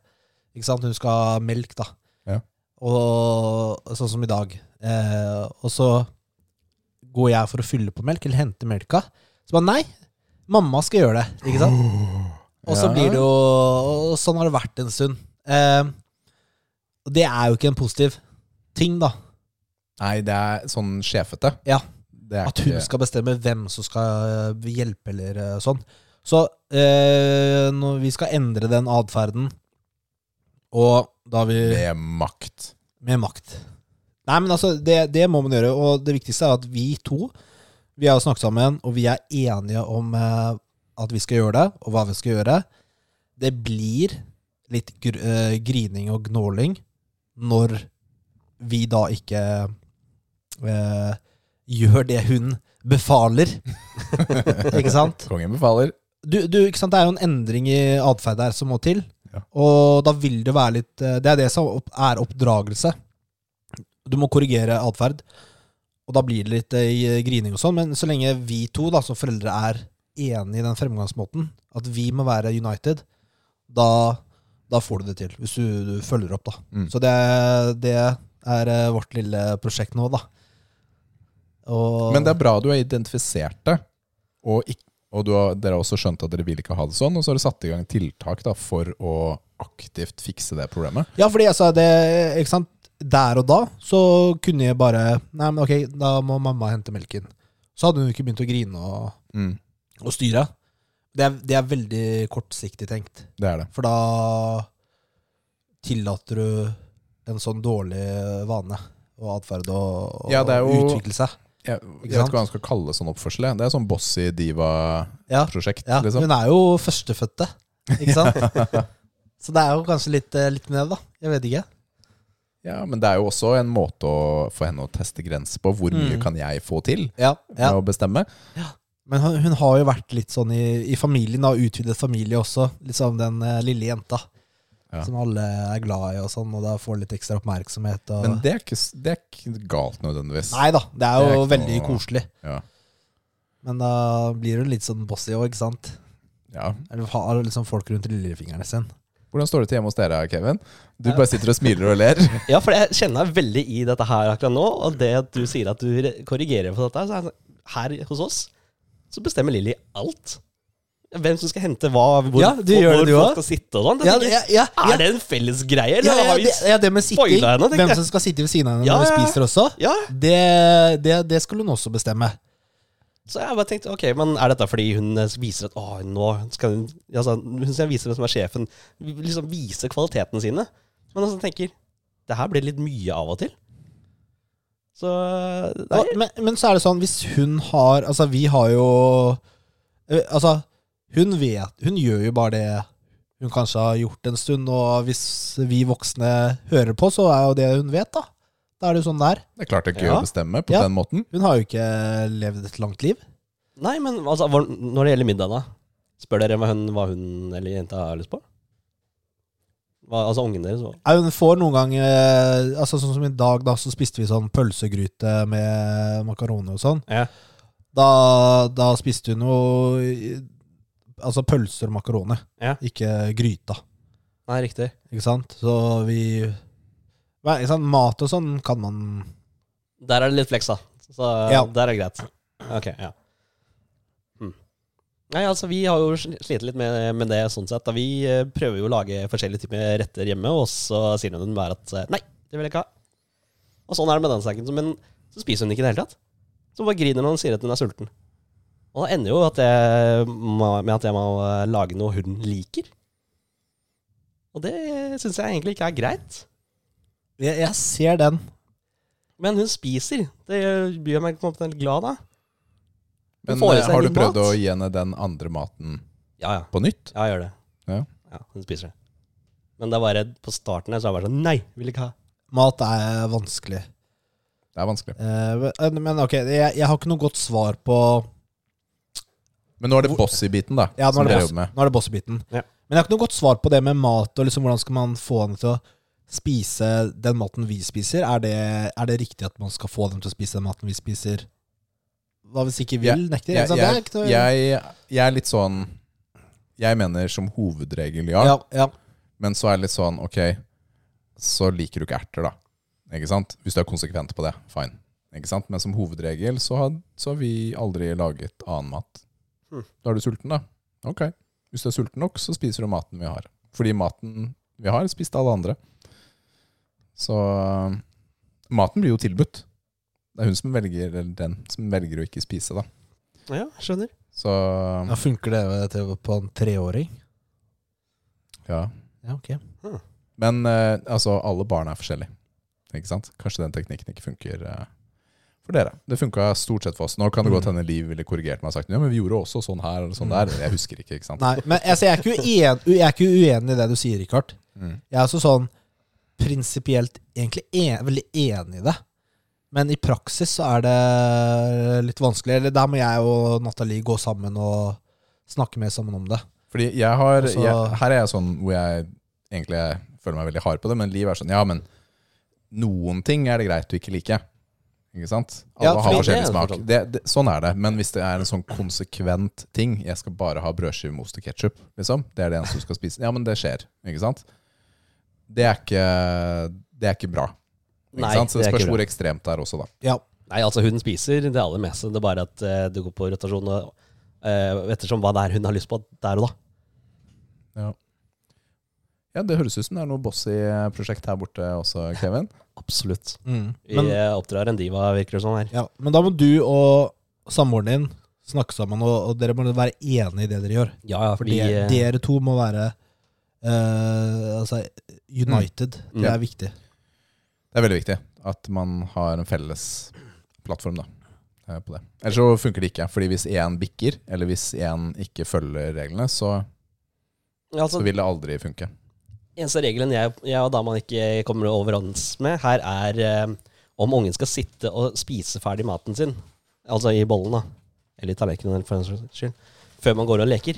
A: Ikke sant? Hun skal ha melk, da. Og sånn som i dag. Eh, og så går jeg for å fylle på melk, eller hente melka. Så bare nei, mamma skal gjøre det. Ikke sant? Og så
B: Ja.
A: blir det jo Og sånn har det vært en stund. Eh, og det er jo ikke en positiv ting, da.
B: Nei, det er sånn sjefete.
A: Ja.
B: Det er
A: At hun
B: ikke-
A: skal bestemme hvem som skal eh, hjelpe, eller eh, sånn. Så eh, når vi skal endre den atferden, og da vi
B: Med makt.
A: Med makt. Nei, men altså, det, det må man gjøre. Og det viktigste er at vi to Vi har jo snakket sammen, og vi er enige om eh, at vi skal gjøre det, og hva vi skal gjøre. Det blir litt gr eh, grining og gnåling når vi da ikke eh, gjør det hun befaler. ikke sant?
B: Kongen befaler.
A: du, du, ikke sant? Det er jo en endring i atferd her som må til.
B: Ja.
A: Og da vil det være litt eh, Det er det som opp- er oppdragelse. Du må korrigere atferd. Og da blir det litt eh, grining og sånn. Men så lenge vi to da, som foreldre er enige i den fremgangsmåten, at vi må være united, da, da får du det til. Hvis du, du følger opp, da.
B: Mm.
A: Så det, det er eh, vårt lille prosjekt nå, da. Og,
B: Men det er bra du har identifisert det. Og, ikk- og du har, dere har også skjønt at dere vil ikke ha det sånn, og så har dere satt i gang tiltak da, for å aktivt fikse det problemet.
A: Ja, fordi altså, det, ikke sant? der og da så kunne jeg bare Nei, men ok, da må mamma hente melken. Så hadde hun ikke begynt å grine og,
B: Mm,
A: og styre. Det er, det er veldig kortsiktig tenkt,
B: Det er det.
A: for da tillater du en sånn dårlig vane og atferd og, og
B: Ja, det er jo-
A: utvikle seg.
B: Jeg, jeg
A: sant?
B: vet ikke hva han skal kalle sånn oppførsel. jeg. Det er sånn bossy
A: Ja,
B: diva-prosjekt.
A: ja.
B: liksom.
A: Hun er jo førstefødte, ikke sant? Så det er jo kanskje litt, eh, litt med det, da. Jeg vet ikke.
B: ja, Men det er jo også en måte å få henne å teste grenser på. Hvor mye kan jeg få til
A: Mm. Ja,
B: med å bestemme?
A: Men hun, hun har jo vært litt sånn i, i familien, da, utvidet familie også. Litt sånn den eh, lille jenta
B: Ja.
A: som alle er glad i og sånn, og da får litt ekstra oppmerksomhet. Og...
B: Men det er ikke, s- det er ikke galt nødvendigvis.
A: Ah. Nei da, det er
B: Det er
A: jo
B: ikke
A: veldig
B: noe-
A: koselig.
B: Ja.
A: Men da blir hun litt sånn bossy òg, ikke sant?
B: Ja.
A: Eller har liksom folk rundt lillefingrene sin.
B: Hvordan står det til hjemme hos dere, Kevin? Du bare sitter og smiler og ler.
C: Ja, for jeg kjenner meg veldig i dette her akkurat nå, og det at du sier at du re- korrigerer for dette, så er det sånn, her hos oss, så bestemmer Lilly alt. Hvem som skal hente hva, hvor,
A: Ja, du gjør det,
C: hvor
A: du
C: folk
A: også.
C: skal sitte og sånn.
A: Ja,
C: Jeg
A: ja,
C: tenker,
A: ja, ja.
C: Er det en felles greie,
A: Ja,
C: eller
A: ja,
C: har vi
A: det, ja, det med sitting,
C: spoila henne, tenker
A: hvem
C: jeg?
A: som skal sitte ved siden av henne
C: Ja,
A: når
C: ja,
A: du
C: ja.
A: spiser også,
C: Ja,
A: det, det, det skulle hun også bestemme.
C: så jeg bare tenkte, ok, men er dette fordi hun eh, viser at, å, nå skal hun, altså, hun skal vise hvem som er sjefen, liksom vise kvalitetene sine. Men altså, jeg tenker, det her blir litt mye av og til. Så, nei,
A: Og, men, men så er det sånn, hvis hun har Altså, vi har jo eh, Altså, hun vet Hun gjør jo bare det hun kanskje har gjort en stund, og hvis vi voksne hører på, så er jo det hun vet, da. Da er det jo sånn det er.
B: Det er klart det er gøy
C: Ja.
B: å bestemme på
A: Ja.
B: den måten.
A: Hun har jo ikke levd et langt liv.
C: Nei, men altså, hvor- når det gjelder middag, da Spør dere hva hun, hva hun eller jenta har lyst på? Hva, altså ungen deres hva-
A: Ja, Hun får noen gang eh, Altså Sånn som i dag, da, så spiste vi sånn pølsegryte med makaroni og sånn.
C: Ja.
A: Da, da spiste hun noe Altså pølser og makaroni,
C: Ja.
A: ikke gryta.
C: Nei, riktig.
A: Ikke sant? Så vi Nei, ikke sant? Mat og sånn kan man
C: Der er det litt flex, da. Så
A: Ja.
C: der er det greit. Ok, ja. Hm. Nei, altså, vi har jo sl- slitt litt med, med det sånn sett. Da vi eh, prøver jo å lage forskjellige typer retter hjemme, og så sier hun bare at eh, nei, det vil jeg ikke ha. Og sånn er det med den saken. så- Men så spiser hun ikke i det hele tatt. Så bare griner hun og sier at hun er sulten. Og det ender jo at jeg må, med at jeg må eh, lage noe hun liker. Og det syns jeg egentlig ikke er greit.
A: Jeg, jeg ser den.
C: Men hun spiser. Det gjør- gjør meg på en måte litt glad, da.
B: Men
C: får i
B: eh,
C: seg
B: har du
C: litt
B: prøvd
C: mat.
B: å gi henne den andre maten
C: Ja, ja.
B: på nytt?
C: Ja, jeg gjør det.
B: Ja.
C: hun spiser det. Men det er bare på starten her, så er jeg bare sånn Nei, vil ikke ha.
A: Mat er vanskelig.
B: Det er vanskelig.
A: Eh, men- men ok, jeg, jeg har ikke noe godt svar på
B: Men nå er det bossy-biten, da.
A: Ja, nå
B: som
A: er det,
B: dere
A: boss,
B: jobber med.
A: nå er det bossebiten.
C: Ja.
A: Men jeg har ikke noe godt svar på det med mat, og liksom hvordan skal man få henne til å spise den maten vi spiser? Er det, er det riktig at man skal få dem til å spise den maten vi spiser? Hva hvis ikke vil,
B: Jeg-
A: nekter?
B: Jeg,
A: ikke sant? Det er
B: jeg,
A: ikke noe-
B: jeg, jeg er litt sånn Jeg mener som hovedregel ja,
A: ja, ja.
B: men så er det litt sånn Ok, så liker du ikke erter, da. Ikke sant? Hvis du er konsekvent på det, fine. Ikke sant? Men som hovedregel så har, så har vi aldri laget annen mat.
C: Hmm.
B: Da er du sulten, da. Ok. Hvis du er sulten nok, så spiser du maten vi har. Fordi maten vi har, spiste alle andre. Så øh, maten blir jo tilbudt. Det er hun som velger, eller den som velger å ikke spise, da.
C: Ja, skjønner.
B: Så
A: ja, Funker det til, på en treåring?
B: ja.
A: Ja, ok.
B: Men eh, altså, alle barn er forskjellige. Ikke sant? Kanskje den teknikken ikke funker eh, for dere. Det funka stort sett for oss. Nå kan det
A: Mm.
B: godt hende Liv ville korrigert meg og sagt ja, men vi gjorde også sånn her eller sånn der. Jeg husker ikke, ikke sant.
A: Nei, men altså, jeg, er ikke uen, jeg er ikke uenig i det du sier, Rikard.
B: Mm.
A: Jeg er også sånn prinsipielt egentlig en, veldig enig i det. Men i praksis så er det litt vanskelig. Eller der må jeg og Nathalie gå sammen og snakke mer sammen om det.
B: Fordi jeg har
A: Altså-
B: jeg, Her er jeg sånn hvor jeg egentlig føler meg veldig hard på det, men Liv er sånn ja, men noen ting er det greit å ikke like. Ikke sant? Alle
A: Ja,
B: har
C: fordi det
B: forskjellig
C: er
B: smak.
C: forstått.
B: Det, det, sånn er det. Men hvis det er en sånn konsekvent ting Jeg skal bare ha brødskive, most og ketsjup, liksom. Det er det eneste du skal spise. Ja, men det skjer. Ikke sant? Det er ikke, det er ikke bra. Ikke
C: Nei,
B: sant? Så det
C: det er ikke
B: spørs
C: bra.
B: hvor ekstremt det er også, da.
A: Ja,
C: Nei, altså, hun spiser det aller meste. Det er bare at eh, det går på rotasjon og eh, ettersom hva det er hun har lyst på der og da.
B: Ja, Det høres ut som det er noe bossy-prosjekt her borte også, Kevin.
C: Absolutt.
A: mm.
C: Vi
A: men,
C: eh, oppdrar en diva, virker det som her.
A: ja. men da må du og samboeren din snakke sammen, og, og dere må være enige i det dere gjør.
C: Ja, ja,
A: For dere,
C: det,
A: dere to må være eh, altså, united.
C: Mm.
A: Det
C: Ja.
A: er viktig.
B: Det er veldig viktig at man har en felles plattform da, eh, på det. Ellers så funker det ikke. fordi hvis én bikker, eller hvis én ikke følger reglene, så,
C: altså,
B: så vil det aldri funke.
C: Eneste regelen jeg, jeg og dama ikke kommer overens med her, er eh, om ungen skal sitte og spise ferdig maten sin. Altså i bollen, da. Eller i tallerkenen, eller for den saks skyld. Før man går og leker.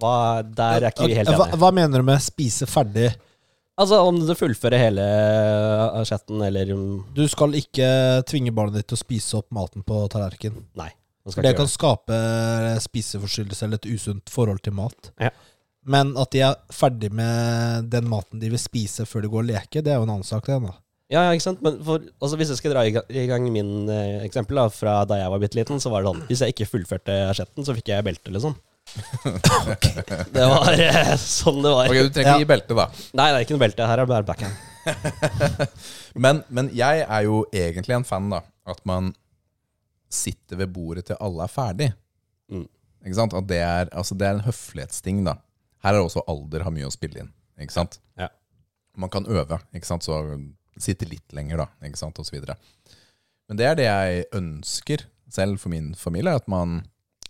C: Hva, der er ikke vi helt
A: Ok, hva,
C: enige.
A: hva mener du med spise ferdig?
C: Altså om du fullfører hele eh, chatten, eller um,
A: Du skal ikke tvinge barnet ditt til å spise opp maten på tallerkenen.
C: Nei. Man skal
A: For det
C: ikke
A: kan
C: gjøre
A: skape eh, spiseforstyrrelse eller et usunt forhold til mat.
C: Ja.
A: Men at de er ferdig med den maten de vil spise før de går og leker, det er jo en annen sak. det da.
C: Ja, ja, ikke sant? Men for, altså, hvis jeg skal dra i ga- i gang min eh, eksempel da, fra da jeg var bitte liten, så var det sånn Hvis jeg ikke fullførte asjetten, så fikk jeg belte, liksom. Det var eh, sånn det var.
B: Ok, Du trenger ikke gi belte, da.
C: Nei, det er ikke noe belte. Her er det bare backhand.
B: Men, men jeg er jo egentlig en fan, da. At man sitter ved bordet til alle er ferdig.
C: Mm.
B: Ikke sant? At det er, altså det er en høflighetsting, da. Her er det også alder har mye å spille inn. Ikke sant?
C: Ja.
B: Man kan øve, ikke sant? så sitte litt lenger, da, ikke sant? og så videre. Men det er det jeg ønsker selv for min familie. at man,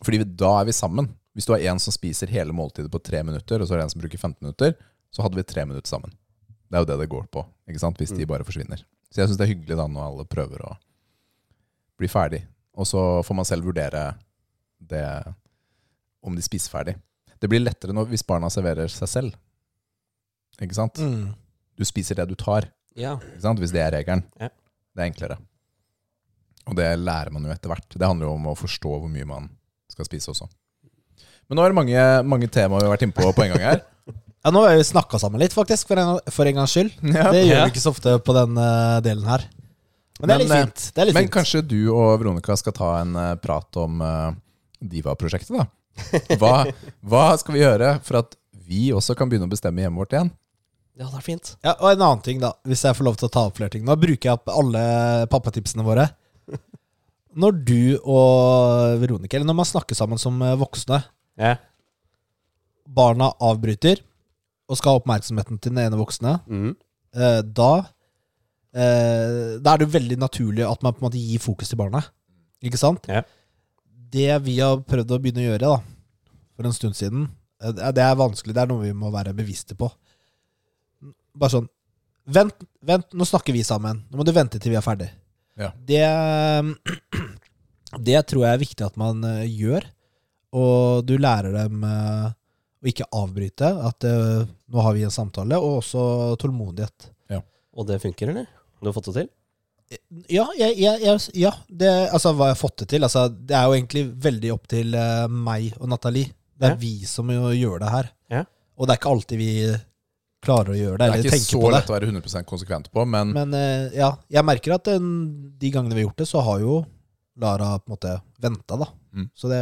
B: fordi vi- da er vi sammen. Hvis du har en som spiser hele måltidet på tre minutter, og så er det en som bruker 15 minutter, så hadde vi tre minutter sammen. Det er jo det det går på, ikke sant? hvis de bare forsvinner. Så jeg syns det er hyggelig da når alle prøver å bli ferdig. Og så får man selv vurdere det om de spiser ferdig. Det blir lettere når, hvis barna serverer seg selv. Ikke sant?
C: Mm.
B: Du spiser det du tar,
C: Ja.
B: ikke sant? hvis det er regelen.
C: Ja.
B: Det er enklere. Og det lærer man jo etter hvert. Det handler jo om å forstå hvor mye man skal spise også. Men nå er det mange, mange temaer vi har vært inne på på en gang her.
A: Ja, nå har vi snakka sammen litt, faktisk, for en, for en gangs skyld. Det gjør
C: Ja.
A: vi ikke så ofte på den eh, delen her. Men det er
B: Men,
A: litt
B: eh,
A: fint. Det er litt
B: Men
A: fint.
B: kanskje du og Veronica skal ta en eh, prat om eh, Diva-prosjektet, da. Hva, hva skal vi gjøre for at vi også kan begynne å bestemme hjemmet vårt igjen?
C: ja, det er fint.
A: Ja, og en annen ting, da, hvis jeg får lov til å ta opp flere ting. Nå bruker jeg opp alle pappatipsene våre. Når du og Veronica, eller når man snakker sammen som eh, voksne,
C: Ja.
A: barna avbryter og skal ha oppmerksomheten til den ene voksne,
C: Mm.
A: eh, da eh, Da er det jo veldig naturlig at man på en måte gir fokus til barna. Ikke sant?
C: Ja.
A: Det vi har prøvd å begynne å gjøre da for en stund siden, eh, det er- det er vanskelig. Det er noe vi må være bevisste på. Bare sånn Vent, vent, nå snakker vi sammen. Nå må du vente til vi er ferdig.
B: Ja.
A: Det, det tror jeg er viktig at man eh, gjør. Og du lærer dem eh, å ikke avbryte. At eh, nå har vi en samtale, og også tålmodighet.
C: Og det funker, eller? Du har fått det til?
A: Ja, jeg, jeg, jeg, ja det, altså, hva jeg har fått det til. Altså, det er jo egentlig veldig opp til eh, meg og Nathalie. Det er
C: Ja.
A: vi som jo gjør det her.
C: Ja.
A: Og det er ikke alltid vi klarer å gjøre det,
B: Det er
A: eller
B: ikke
A: tenker
B: så
A: på det.
B: lett å være 100 konsekvent på, men
A: Men eh, ja, jeg merker at den, de gangene vi har gjort det, så har jo Lara på en måte venta, da.
B: Mm.
A: Så det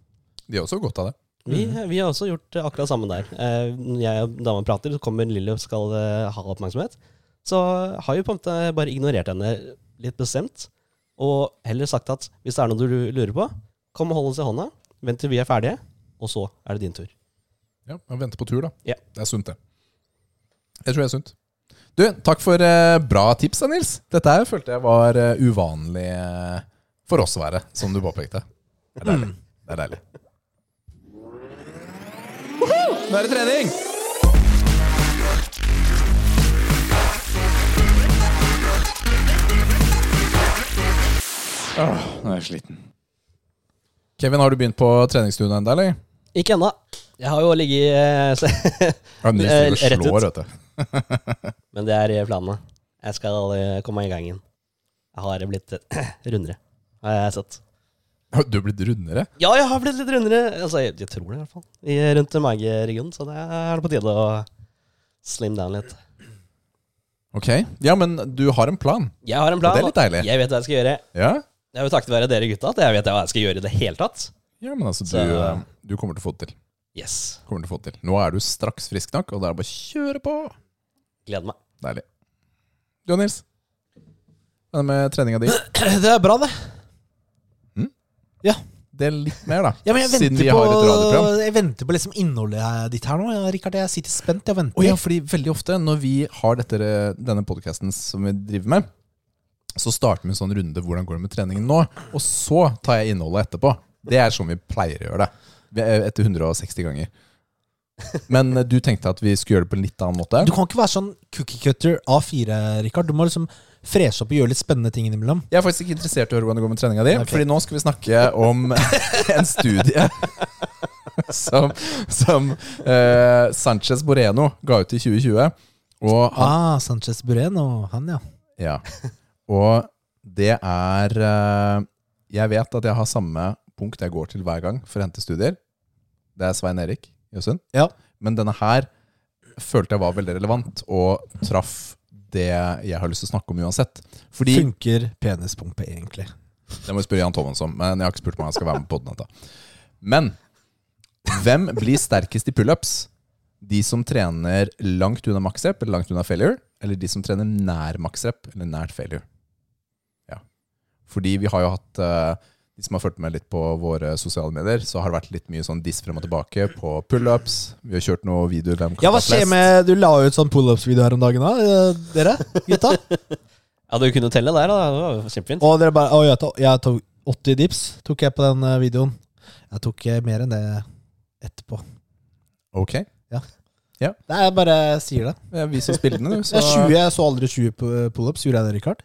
B: de har også godt av det.
C: Vi, vi har også gjort eh, akkurat samme der. Eh, Når jeg og dama prater, så kommer Lilly og skal eh, ha oppmerksomhet. Så har vi på en måte bare ignorert henne litt bestemt, og heller sagt at hvis det er noe du lurer på, kom og hold oss i hånda, vent til vi er ferdige, og så er det din tur.
B: Ja, man venter på tur, da.
C: Ja.
B: Det er sunt, det. Jeg tror det er sunt. Du, takk for eh, bra tips, da, Nils. Dette her følte jeg var eh, uvanlig eh, for oss å være, som du påpekte. Det er deilig. Det er deilig. Nå er det trening! Åh, nå er jeg sliten. Kevin, har du begynt på treningsstudioet ennå, eller?
C: Ikke ennå. Jeg har jo ligget eh, se-
B: Ja, Nils
C: Eh,
B: driver
C: rett
B: og
C: ut.
B: slår, vet du.
C: Men det er i planene. Jeg skal eh, komme i gang igjen. Jeg har blitt eh, rundere, har jeg sett.
B: Har Du er blitt rundere?
C: Ja, jeg har blitt litt rundere. Altså, jeg, jeg tror det, i hvert fall. I, rundt mageregionen. Så det er det på tide å slim down litt.
B: Ok. Ja, men du har en plan.
C: Jeg har en plan.
B: Det er litt deilig.
C: og Jeg vet hva jeg skal gjøre.
B: Ja,
C: Det er jo takket være dere gutta at jeg vet hva jeg skal gjøre i det hele tatt.
B: ja men altså, du,
C: Så-
B: eh, du kommer til å få det til.
C: Yes.
B: Kommer til å få det til. Nå er du straks frisk nok, og det er bare å kjøre på.
C: Gleder meg.
B: Deilig. Du og Nils, hva er det med treninga di?
A: Det er bra, det.
B: Del litt mer, da.
A: Ja, men jeg venter,
B: Siden vi
A: på,
B: har et radioprogram.
A: jeg venter på liksom innholdet her- ditt her nå. Ja, Rikard, jeg sitter spent. Jeg venter.
B: Å ja, fordi veldig ofte når vi har dette, denne podkasten som vi driver med, så starter vi en sånn runde 'Hvordan går det med treningen nå?' Og så tar jeg innholdet etterpå. Det er sånn vi pleier å gjøre det. Vi er Etter 160 ganger. Men eh, du tenkte at vi skulle gjøre det på en litt annen måte?
A: Du kan ikke være sånn cookie cutter A4, Rikard. Du må liksom freshe opp og gjøre litt spennende ting innimellom.
B: Jeg er faktisk ikke interessert i å høre hvordan det går med treninga di,
A: Ok.
B: Fordi nå skal vi snakke om en studie som, som eh, Sanchez Boreno ga ut i 2020. Og han
A: Ah, Sanchez Bureno. Han, ja.
B: Ja. Og det er eh, Jeg vet at jeg har samme punkt jeg går til hver gang for å hente studier. Det er Svein Erik Jøsund.
A: Ja.
B: Men denne her følte jeg var veldig relevant, og traff det jeg har lyst til å snakke om uansett. Fordi
A: Funker penispumpe egentlig?
B: Det må jeg spørre Jan Thomas om, men jeg har ikke spurt om han skal være med på den. Dette. Men hvem blir sterkest i pullups? De som trener langt unna maksrep eller langt unna failure, eller de som trener nær maksrep eller nært failure? Ja. Fordi vi har jo hatt eh, De som har fulgt med litt på våre sosiale medier, så har det vært litt mye sånn diss frem og tilbake på pullups. Vi har kjørt noen videoer. hvem kan
A: Ja, hva
B: ta
A: skjer
B: flest.
A: med Du la ut sånn pullups-video her om dagen, da, eh, dere gutta?
C: Ja, du kunne telle der, da. Det var jo kjempefint.
A: Og dere bare Å, jeg tok, jeg tok 80 dips tok jeg på den eh, videoen. Jeg tok eh, mer enn det etterpå.
B: Ok.
A: Det er bare jeg sier det.
B: Eh, Vis oss bildene, du.
A: Jeg, er 20, jeg så aldri 20 pu- pullups. Gjorde jeg det, Richard?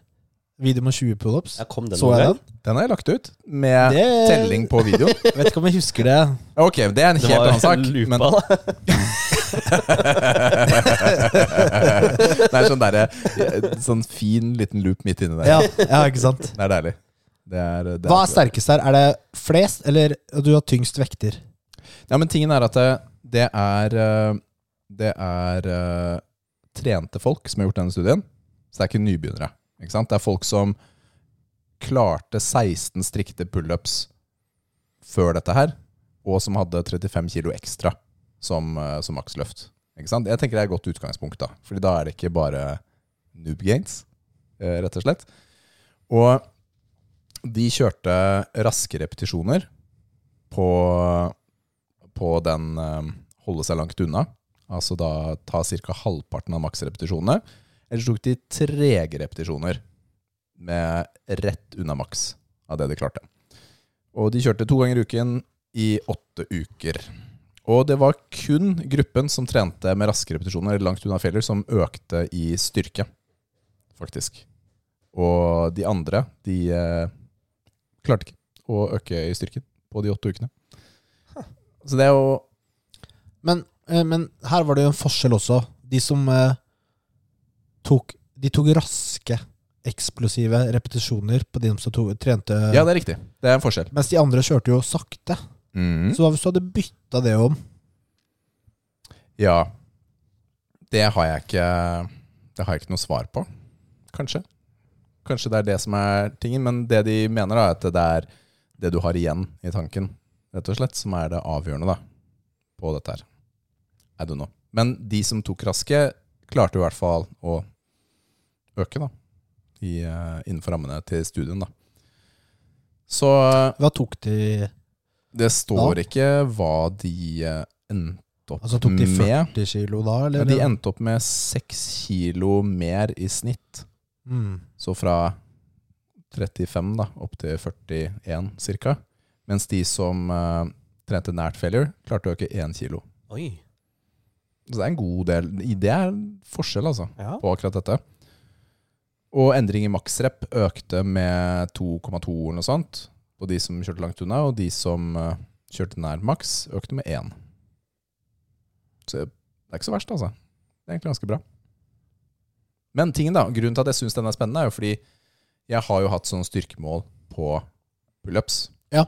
A: Video med 20 pullups.
C: Ja, kom den
A: Så jeg
C: noen gang?
A: den?
B: Den har jeg lagt ut, med
A: Det-
B: telling på videoen.
A: Jeg vet ikke om jeg husker det.
B: Ok, det er en
C: Det
B: helt
C: var
B: annen sak.
C: lupa,
B: men-
C: da.
B: det er sånn derre Sånn fin liten loop midt inni der.
A: Ja, ja ikke sant?
B: Det er deilig. Det er, eh, det
A: Hva er sterkest her? Er det flest, eller du har tyngst vekter?
B: Ja, men tingen er at det, det er eh, Det er eh, trente folk som har gjort denne studien. Så det er ikke nybegynnere. Ikke sant? Det er folk som klarte 16 strikte pullups før dette her, og som hadde 35 kilo ekstra som, eh, som maksløft. Ikke sant? Jeg tenker det er et godt utgangspunkt, da. Fordi da er det ikke bare noob gains, eh, rett og slett. Og de kjørte raske repetisjoner på på den eh, holde seg langt unna. Altså da ta ca. halvparten av maksrepetisjonene. Eller så tok de trege repetisjoner med rett unna maks av det de klarte. Og de kjørte to ganger i uken i åtte uker. Og det var kun gruppen som trente med raske repetisjoner eller langt unna failure, som økte i styrke, faktisk. Og de andre, de eh, klarte ikke å øke i styrken på de åtte ukene. Så det er jo
A: Men, eh, men her var det jo en forskjell også. De som eh, tok De tok raske, eksplosive repetisjoner på de som tok, trente
B: Ja, det er riktig. Det er en forskjell.
A: Mens de andre kjørte jo sakte.
B: Mm.
A: Så hva hvis du hadde bytta det om?
B: Ja. Det har jeg ikke Det har jeg ikke noe svar på. Kanskje. Kanskje det er det som er tingen, men det de mener, da, er at det er det du har igjen i tanken, rett og slett, som er det avgjørende da, på dette her. I don't know. Men de som tok raske, klarte i hvert fall å øke, da. I, eh, innenfor rammene til studien, da. Så
A: Hva tok de
B: Det står ikke hva de eh, endte opp
A: Altså Tok de
B: med.
A: 40 kilo da,
B: Ja,
A: eller?
B: de endte opp med seks kilo mer i snitt.
A: mm.
B: Så fra 35 da, opp til 41 cirka. Mens de som eh, trente nært failure, klarte å øke én kilo.
C: Oi.
B: Så det er en god del. I Det er en forskjell, altså,
C: Ja.
B: på akkurat dette. Og endring i maksrep økte med 2,2 eller noe sånt. Og de som kjørte langt unna, og de som eh, kjørte nær maks, økte med 1. Så det er ikke så verst, altså. Det er egentlig ganske bra. Men tingen da, grunnen til at jeg syns den er spennende, er jo fordi jeg har jo hatt sånne styrkemål på pullups.
A: Ja.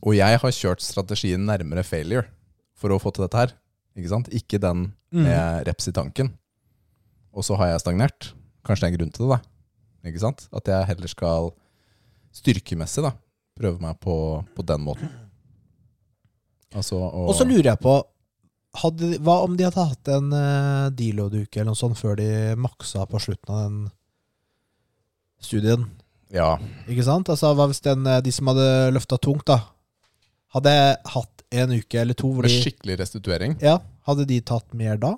B: Og jeg har kjørt strategien nærmere failure for å få til dette her. Ikke sant? Ikke den
A: Mm.
B: med reps i tanken. Og så har jeg stagnert. Kanskje det er en grunn til det, da. Ikke sant? At jeg heller skal styrkemessig da, prøve meg på, på den måten. Altså å
A: Og så lurer jeg på hadde, Hva om de hadde hatt en uh, deload-uke eller noe sånt før de maksa på slutten av den studien?
B: Ja.
A: Ikke sant? Altså, hva hvis den, eh, de som hadde løfta tungt, da Hadde hatt en uke eller to hvor
B: Med
A: de
B: skikkelig restituering.
A: ja, Hadde de tatt mer da?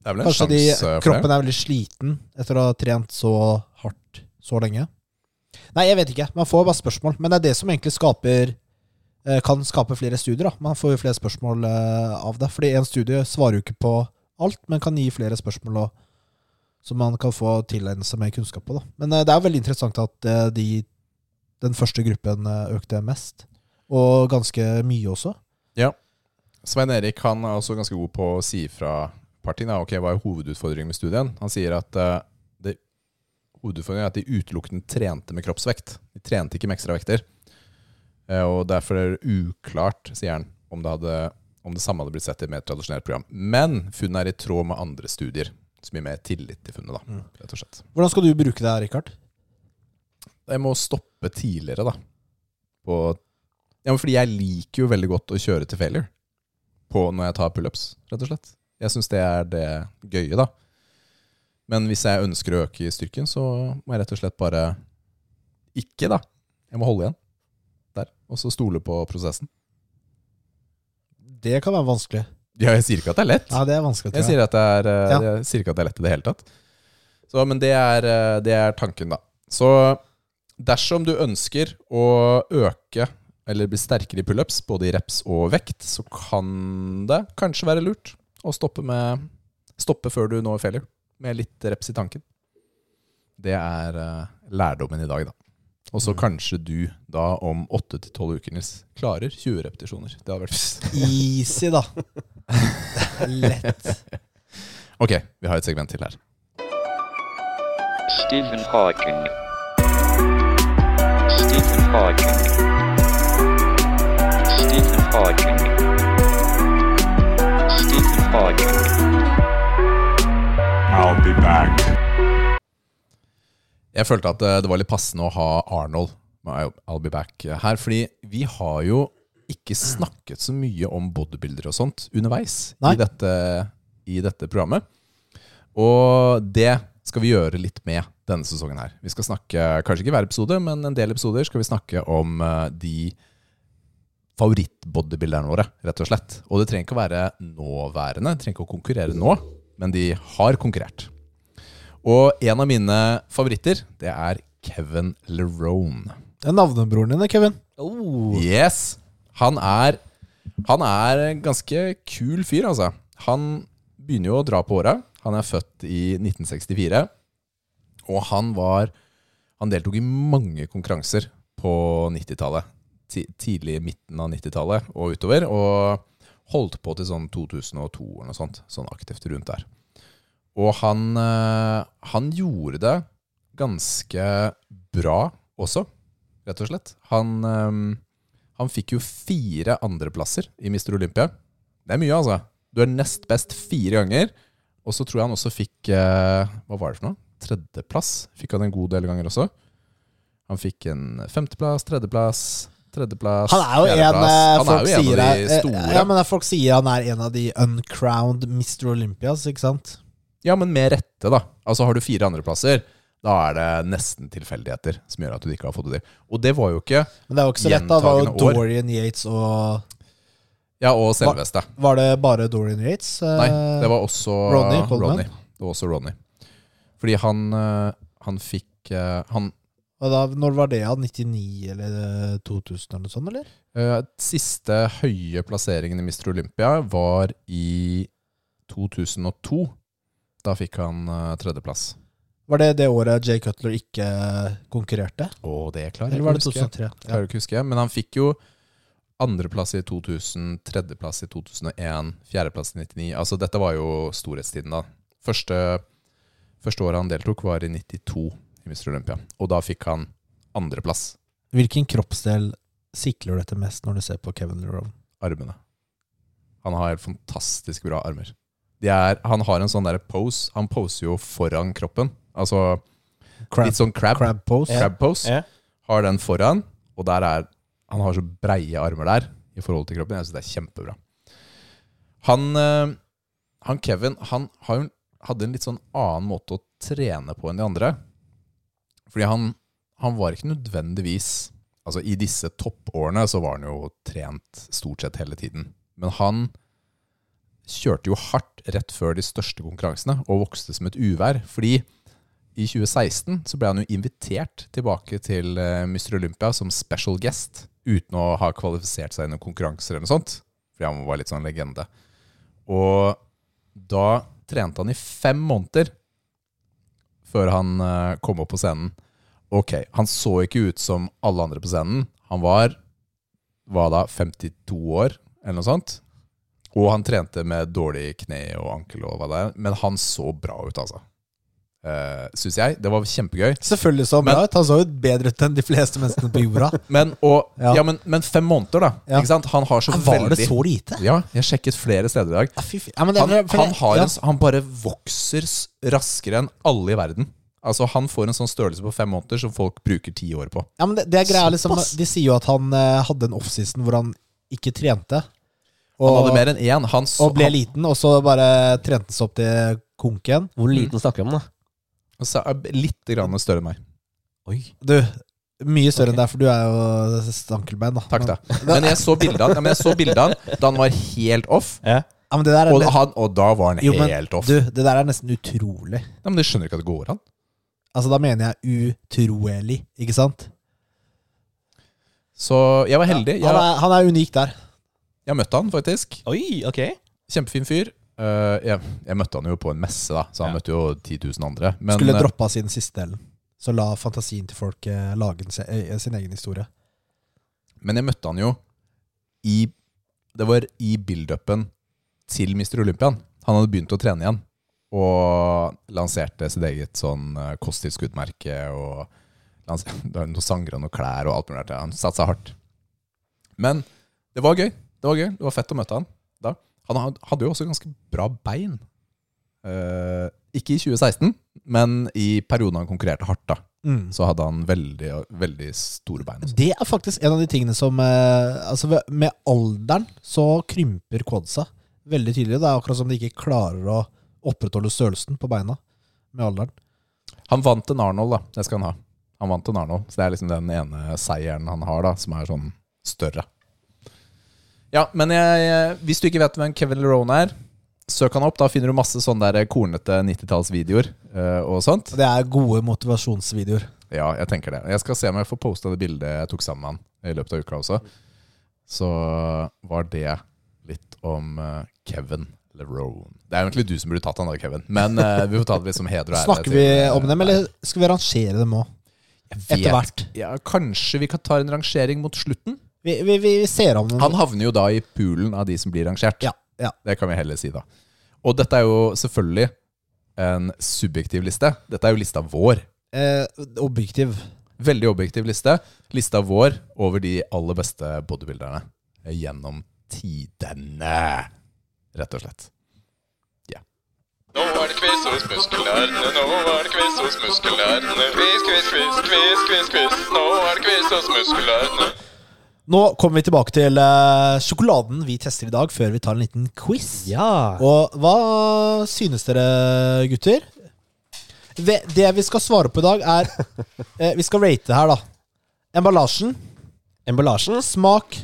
B: Det er vel en
A: Kanskje de,
B: sjanse for det.
A: kroppen er veldig sliten etter å ha trent så hardt så lenge? Nei, jeg vet ikke. Man får bare spørsmål. Men det er det som egentlig skaper eh, kan skape flere studier. da. Man får jo flere spørsmål eh, av det. Fordi en studie svarer jo ikke på alt, men kan gi flere spørsmål og, som man kan få tilegne seg mer kunnskap på. da. Men eh, det er veldig interessant at eh, de, den første gruppen eh, økte mest. Og ganske mye også.
B: Svein Erik han er også ganske god på å si fra partien. da. Ok, Hva er hovedutfordringen med studien? Han sier at eh, det, hovedutfordringen er at de utelukkende trente med kroppsvekt. De trente ikke med ekstravekter. Eh, Og derfor er det uklart, sier han, om det, hadde, om det samme hadde blitt sett i et mer tradisjonelt program. Men funnet er i tråd med andre studier. Så mye mer tillit til funnet, da, rett og slett.
A: Hvordan skal du bruke det her, Rikard?
B: Jeg må stoppe tidligere, da. På ja, men fordi jeg liker jo veldig godt å kjøre til failure på når jeg tar pullups, rett og slett. Jeg syns det er det gøye, da. Men hvis jeg ønsker å øke i styrken, så må jeg rett og slett bare ikke, da. Jeg må holde igjen der, og så stole på prosessen.
A: Det kan være vanskelig.
B: Ja, jeg sier ikke at det er lett.
A: Ja, det er vanskelig.
B: Jeg
A: tror jeg.
B: sier, at det er, eh,
A: Ja.
B: jeg sier ikke at det er lett i det hele tatt. Så, men det er, eh, det er tanken, da. Så dersom du ønsker å øke eller bli sterkere i pullups, både i reps og vekt, så kan det kanskje være lurt å stoppe, med, stoppe før du når failure, med litt reps i tanken. Det er eh, lærdommen i dag, da. Og
A: Mm.
B: så kanskje du da om 8-12 uker Nils, klarer 20 repetisjoner. Det hadde vært
A: Easy, da. Lett.
B: Ok, vi har et segment til her.
D: Stephen Hawking. Stephen Hawking. Stephen Hawking. Stephen Hawking.
E: I'll be back.
B: Jeg følte at eh, det var litt passende å ha Arnold med I'll- I'll be back her, fordi vi har jo ikke snakket så mye om bodybuilder og sånt underveis
A: Nei.
B: i dette, i dette programmet. Og det skal vi gjøre litt med denne sesongen her. Vi skal snakke, kanskje ikke hver episode, men en del episoder skal vi snakke om eh, de favorittbodybuilderne våre, rett og slett. Og det trenger ikke å være nåværende, det trenger ikke å konkurrere nå, men de har konkurrert. Og en av mine favoritter, det er Kevin Lerone.
A: Det er navnebroren din, Kevin.
C: Oh.
B: Yes! Han er, han er en ganske kul fyr, altså. Han begynner jo å dra på åra. Han er født i 1964. Og han var Han deltok i mange konkurranser på 90-tallet. Ti- Tidlig i midten av 90-tallet og utover. Og holdt på til sånn 2002 eller noe sånt. Sånn aktivt rundt der. Og han, eh, han gjorde det ganske bra også, rett og slett. Han eh, han fikk jo fire andreplasser i Mr. Olympia. Det er mye, altså. Du er nest best fire ganger. Og så tror jeg han også fikk eh, Hva var det for noe? Tredjeplass fikk han en god del ganger også. Han fikk en femteplass, tredjeplass, tredjeplass
A: Han er jo en,
B: fjerdeplass.
A: eh,
B: Han
A: folk
B: er jo en
A: sier
B: av
A: er-
B: de
A: eh,
B: store.
A: Ja, men folk sier han er en av de uncrowned Mr. Olympias, ikke sant?
B: Ja, men med rette, da. Altså Har du fire andreplasser, da er det nesten tilfeldigheter som gjør at du ikke har fått det til. Og det var jo ikke
A: Men det er jo ikke så lett, da. Det var jo
B: Gjentagende år.
A: Dorian Yates og
B: Ja, og selveste.
A: Var det bare Dorian Yates? Eh,
B: Nei, det var også
A: Ronny Coleman.
B: Ronny. Det var også Ronny. Fordi han, eh, han fikk eh, Han
A: Og da, når var det? ja? 99 eller eh, 2000 eller noe sånt, eller?
B: eh, Siste høye plasseringen i Mr. Olympia var i 2002. Da fikk han eh, tredjeplass.
A: Var det det året Jay Cutler ikke konkurrerte?
B: Og det klarer
A: Eller
B: jeg
A: var det
B: ikke å huske.
A: 2003? Ja.
B: Klarer ikke å huske. Men han fikk jo andreplass i 2000, tredjeplass i 2001, fjerdeplass i 99. Altså dette var jo storhetstiden, da. Første, første året han deltok, var i 92 i Mr. Olympia. Og da fikk han andreplass.
A: Hvilken kroppsdel sikler du etter mest når du ser på Kevin Lerone?
B: Armene. Han har helt fantastisk bra armer. De er, han har en sånn derre pose. Han poser jo foran kroppen. Altså
A: Crab,
B: litt sånn crab.
A: crab pose?
B: crab pose.
C: Ja.
B: Har den foran, og der er Han har så breie armer der i forhold til kroppen. Jeg syns det er kjempebra. Han, eh, han Kevin han har, jo- hadde en litt sånn annen måte å trene på enn de andre. Fordi han, han var ikke nødvendigvis Altså I disse toppårene så var han jo trent stort sett hele tiden. Men han kjørte jo hardt rett før de største konkurransene og vokste som et uvær. Fordi i 2016 så ble han jo invitert tilbake til eh, Mr. Olympia som special guest, uten å ha kvalifisert seg i noen konkurranser eller noe sånt, fordi han var litt sånn legende. Og da trente han i fem måneder før han eh, kom opp på scenen. Ok, han så ikke ut som alle andre på scenen. Han var, var da 52 år, eller noe sånt. Og han trente med dårlig kne og ankel og hva det er, men han så bra ut, altså Uh, Syns jeg. Det var kjempegøy.
A: Selvfølgelig så
B: Men-
A: bra ut. Han så jo bedre ut enn de fleste menneskene på jorda.
B: Men, og,
A: Ja.
B: ja. men, men fem måneder, da.
A: Ja.
B: Ikke sant? Han har så
A: Var
B: veldig
A: det så lite?
B: Ja, jeg sjekket flere steder i dag.
A: Ja, fy, fy. Ja, men det-
B: Han,
A: for-
B: han, har
A: ja.
B: en, s- han bare vokser s- raskere enn alle i verden. Altså Han får en sånn størrelse på fem måneder som folk bruker ti år på.
A: Ja, men det, det er greia liksom
C: Såpass.
A: De sier jo at han eh, hadde en offseason hvor han ikke trente. Og,
B: Han hadde mer enn én. Han så,
A: og ble
B: han,
A: liten, og så bare trente han seg opp til konken.
C: Hvor liten snakker vi om, da?
B: han sa- er litt grann større enn meg.
A: Du, mye større enn deg, for du er jo stankelbein. Da.
B: Takk, da. Men jeg så bildet av han- ja, men jeg så bildet av han da han var helt off.
A: Ja, men det der er
B: Og, han, og da var han
A: jo, men,
B: helt off.
A: Du, det der er nesten utrolig.
B: Ja, men Du skjønner ikke at det går an?
A: Altså, da mener jeg utrolig, ikke sant?
B: Så jeg var heldig.
A: Han,
B: Jeg,
A: er, han er unik der.
B: jeg møtte han faktisk.
C: Oi, ok.
B: Kjempefin fyr. Eh, jeg, jeg møtte han jo på en messe, da så han
C: Ja.
B: møtte jo 10 000 andre. Men,
A: Skulle
B: eh,
A: droppa sin siste delen. Så la fantasien til folk eh, lage sin, eh, sin egen historie.
B: men jeg møtte han jo i Det var i build-upen til Mr. Olympian. Han hadde begynt å trene igjen. Og lanserte sitt eget sånn eh, kosttilskuddmerke og lans- det var noen sanger og noen klær og alt mulig der. Han satsa hardt. Men det var gøy. Det var gøy. Det var fett å møte han da. Han had- hadde jo også ganske bra bein. Eh, ikke i 2016, men i perioden han konkurrerte hardt, da.
A: Mm.
B: Så hadde han veldig, veldig store bein. og sånt.
A: Det er faktisk en av de tingene som eh, altså ved- Med alderen så krymper quadsa veldig tydelig. Det er akkurat som de ikke klarer å opprettholde størrelsen på beina med alderen.
B: Han vant en Arnold, da. Det skal han ha. Han vant en Arnold, så det er liksom den ene seieren han har, da, som er sånn større. Ja, men jeg, jeg- hvis du ikke vet hvem Kevin Lerone er, søk han opp. Da finner du masse sånne der kornete 90-tallsvideoer eh, og sånt.
A: Og Det er gode motivasjonsvideoer.
B: Ja, jeg tenker det. Jeg skal se om jeg får posta det bildet jeg tok sammen med han i løpet av uka også. Så var det litt om eh, Kevin Lerone. Det er egentlig du som burde tatt han da, Kevin. Men eh, vi får ta det litt som heder og ære.
A: Snakker
B: til,
A: vi
B: eh,
A: om dem, eller skal vi rangere dem òg?
B: vet
A: Etter hvert.
B: Ja, kanskje vi kan ta en rangering mot slutten?
A: Vi, vi, vi vi ser om dem.
B: Han havner jo da i poolen av de som blir rangert.
A: Ja, ja.
B: Det kan vi heller si, da. Og dette er jo selvfølgelig en subjektiv liste. Dette er jo lista vår.
A: Eh, objektiv.
B: Veldig objektiv liste. Lista vår over de aller beste bodybuilderne gjennom tidene, rett og slett.
E: Nå er det quiz hos muskelnerdene, nå er det quiz hos muskelnerdene. Quiz, quiz, quiz, quiz, quiz, quiz. Nå er det quiz hos muskelnerdene.
A: Nå kommer vi tilbake til eh, sjokoladen vi tester i dag, før vi tar en liten quiz.
C: Ja.
A: Og hva synes dere, gutter? Det, det vi skal svare på i dag, er eh, Vi skal rate her, da. Emballasjen,
C: Emballasjen.
A: smak,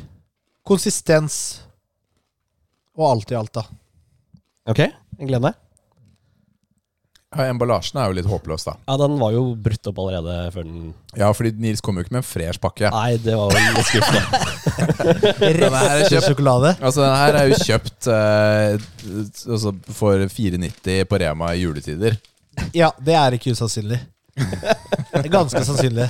A: konsistens og alt i alt, da.
C: Ok, jeg gleder meg.
B: Ja, Emballasjen er jo litt håpløs, da.
C: Ja, den var jo brutt opp allerede før den
B: Ja, fordi Nils kom jo ikke med en fresh pakke.
C: Nei, det var vel litt skuffende.
B: Den her er kjøpt
A: Sjokolade.
B: Altså, den her er jo kjøpt eh, altså for 4,90 på Rema i juletider.
A: Ja, det er ikke usannsynlig. Det er Ganske sannsynlig.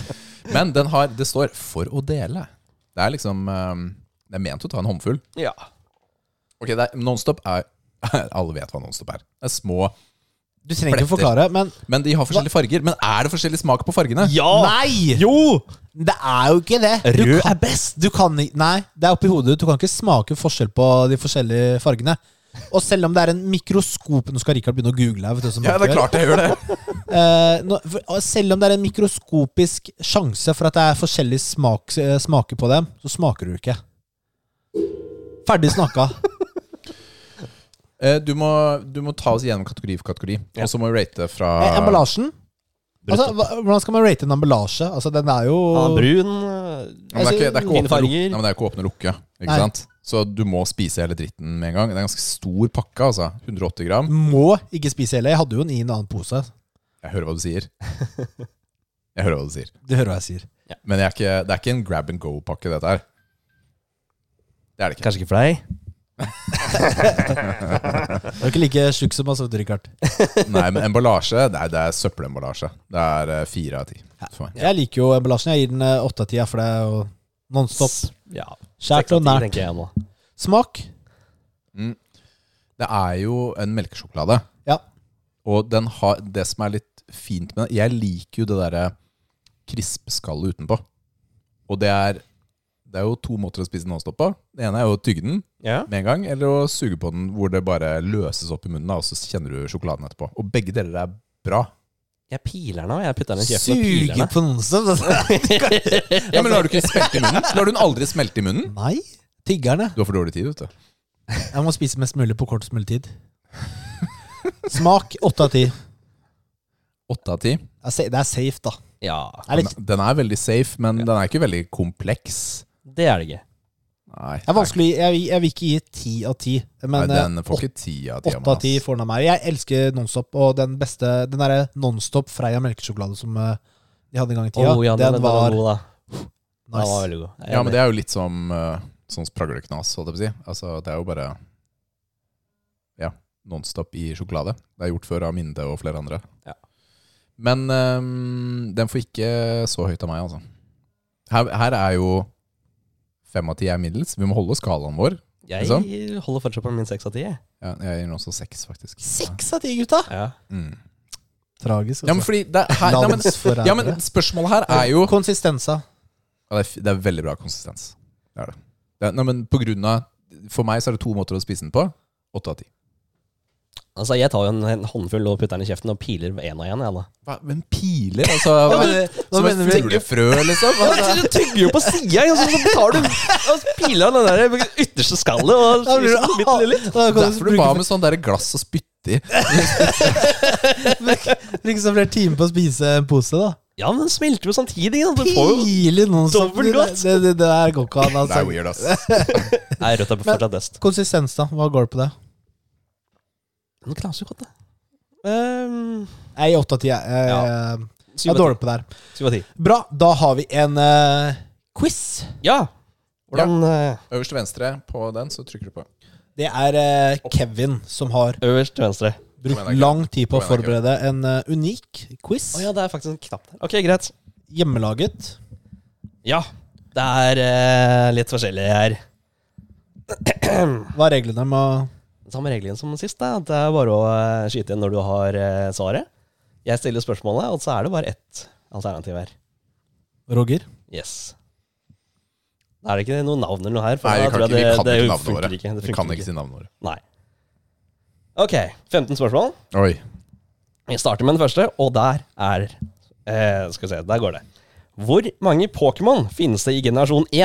B: Men den har, det står 'for å dele'. Det er liksom eh, Det er ment å ta en håndfull.
C: ja.
B: Ok, det er, Nonstop er Alle vet hva Nonstop er. Det er små
A: Du trenger ikke å
B: Pletter.
A: forklare, men
B: Men de har forskjellige farger. Men er det forskjellig smak på fargene?
A: Nei!
C: Jo!
A: Det er jo ikke det. Du
C: Rød
A: kan-
C: er best.
A: Du kan ikke Nei, det er oppi hodet. Du kan ikke smake forskjell på de forskjellige fargene. Og selv om det er en mikroskop Nå skal Rikard begynne å google her. Vet du, som
B: Ja,
A: han
B: det er
A: gjør.
B: klart jeg gjør det.
A: Eh, nå- for- og selv om det er en mikroskopisk sjanse for at det er forskjellige smak, eh, smaker på dem, så smaker du ikke. Ferdig snakka.
B: Eh, Du må, du må ta oss gjennom kategori for kategori, og så må vi rate fra
A: Eh, Emballasjen. Altså, hva- hvordan skal man rate en emballasje? Altså, den er
C: Han
A: jo Altså,
C: er brun.
B: Men det er ikke, det er ikke
C: Fine
B: åpne, luk-
C: farger.
B: Nei, men det er ikke åpne lukke. Ikke
A: Nei.
B: sant? Så du må spise hele dritten med en gang. Det er en ganske stor pakke, altså. 180 gram.
A: Må ikke spise hele. Jeg hadde jo den i en annen pose.
B: Jeg hører hva du sier. Jeg hører hva du sier.
A: Du hører hva jeg sier.
B: Men jeg er ikke, det er ikke en grab and go-pakke, dette her. Det er det ikke.
C: Kanskje ikke for deg.
A: Du er ikke like tjukk som oss, vet du, Rikard.
B: Nei, men emballasje, nei, det er søppelemballasje. Det er eh, fire av ti for meg.
A: Jeg liker jo emballasjen. Jeg gir den eh, åtte av ti, ja, for det er jo nonstop.
C: Ja.
A: Skjært og nært.
C: tenker jeg nå.
A: Smak.
B: Det er jo en melkesjokolade,
A: Ja.
B: og den har, det som er litt fint med det Jeg liker jo det derre krispeskallet utenpå. Og det er, det er jo to måter å spise nonstop på. Det ene er jo å tygge den
C: Ja.
B: med en gang, eller å suge på den hvor det bare løses opp i munnen, da, og så kjenner du sjokoladen etterpå. Og begge deler er bra.
C: Jeg piler den av. Jeg putter den i kjeften og piler
A: Suge
C: den av.
A: på nonstop? altså.
B: Ja, men lar du ikke smelte i munnen? Lar du den aldri smelte i munnen?
A: Nei. Tiggerne.
B: Du har for dårlig tid, vet du.
A: Jeg må spise mest mulig på kortest mulig tid. Smak åtte av ti.
B: Åtte av ti.
A: Det er sa- det er safe, da.
C: Ja,
A: Det er, litt,
B: Den- Den er veldig safe, men den er ikke veldig kompleks.
C: det er det ikke.
B: Nei,
A: det er vanskelig. Jeg, vil- jeg vil ikke gi ti av ti,
B: Nei,
A: men
B: den
A: eh,
B: får ikke ti av ti.
A: åtte av ti får den av meg. Jeg elsker Nonstop, og den beste Den derre Nonstop Freia melkesjokolade som eh, de hadde en gang i tida,
C: Å, ja,
A: den, var
C: god, da. Den var
A: nice.
C: veldig god. Jeg er
B: Ja, men
C: enig.
B: det er jo litt som eh, sånn spragleknas, holdt jeg på å si. Altså, det er jo bare ja, nonstop i sjokolade. Det er gjort før av Minde og flere andre.
C: Ja.
B: Men ehm, den får ikke så høyt av meg, altså. Her, her er jo fem av ti er middels. Vi må holde skalaen vår. sånn.
C: Jeg holder fortsatt på min seks av ti. jeg.
B: Ja, jeg gir den også seks, faktisk.
A: Seks av ti, gutta!
C: Ja.
B: Mm.
A: Tragisk. altså.
B: Ja, men fordi det er, her, nei, men,
A: Landsforrædere.
B: ja, men spørsmålet her er jo
A: Konsistensa.
B: Ja, det, er, f- det er veldig bra konsistens. Det er det. det er, nei, men på grunn av, for meg så er det to måter å spise den på. Åtte av ti.
C: Altså, jeg tar jo en, en håndfull og putter den i kjeften og piler én og én. jeg, da.
B: Hva, men piler? Altså, hva,
A: men det- nå
B: som et
A: mener vi-
B: fuglefrø, liksom? Hva,
C: Du tygger jo på sida, og så tar du og piler den der ytterste skallet. Og
A: Da blir du-
C: Liksom bitte litt.
A: Da kan
B: derfor
A: du
B: du ba
A: bruke,
B: med sånn der glass og spytte i.
A: bruke så flere timer på å spise en pose, da.
C: Ja, men den smelter jo samtidig. Da. Du får jo
A: Tidlig Nonstop.
C: dobbelt
A: Det,
C: godt.
A: det, det, det der går ikke an.
B: Det er
A: Altså.
B: weird, ass.
C: Nei, rødt er fortsatt best.
A: Konsistens, da. Hva går det på det?
C: Den knaser jo godt, da. Um,
A: Nei, åtte av ti. Jeg, jeg,
C: Ja.
A: jeg er dårlig på det her.
C: Syv av ti.
A: Bra, da har vi en eh, quiz.
C: Ja. Hvordan eh,
B: Øverst til venstre på den, så trykker du på.
A: Det er eh, Kevin som har
C: Øverst til venstre.
B: Kom
A: brukt
B: igjen da, Kevin.
A: lang tid på å
B: Kom igjen da,
A: forberede en eh, unik quiz.
C: Å ja, det er faktisk en knapp der. Ok, greit.
A: Hjemmelaget.
C: Ja. Det er eh, litt forskjellig her.
A: Hva er reglene med å
C: Samme regelen som sist. Da. at Det er bare å eh, skyte inn når du har eh, svaret. Jeg stiller spørsmålet, og så er det bare ett alternativ her.
A: Roger?
C: Yes. Da er det ikke noe navn eller noe her.
B: Nei, vi
C: da
B: kan
C: tror
B: ikke, vi
C: jeg
B: kan ikke navnene
C: funker
B: våre.
C: Ikke. Det
B: Vi kan
C: funker
B: ikke si navnene våre.
C: Nei. Ok, 15 spørsmål.
B: Oi.
C: Vi starter med den første, og der er eh, Skal vi se, der går det. Hvor mange Pokémon finnes det i generasjon 1?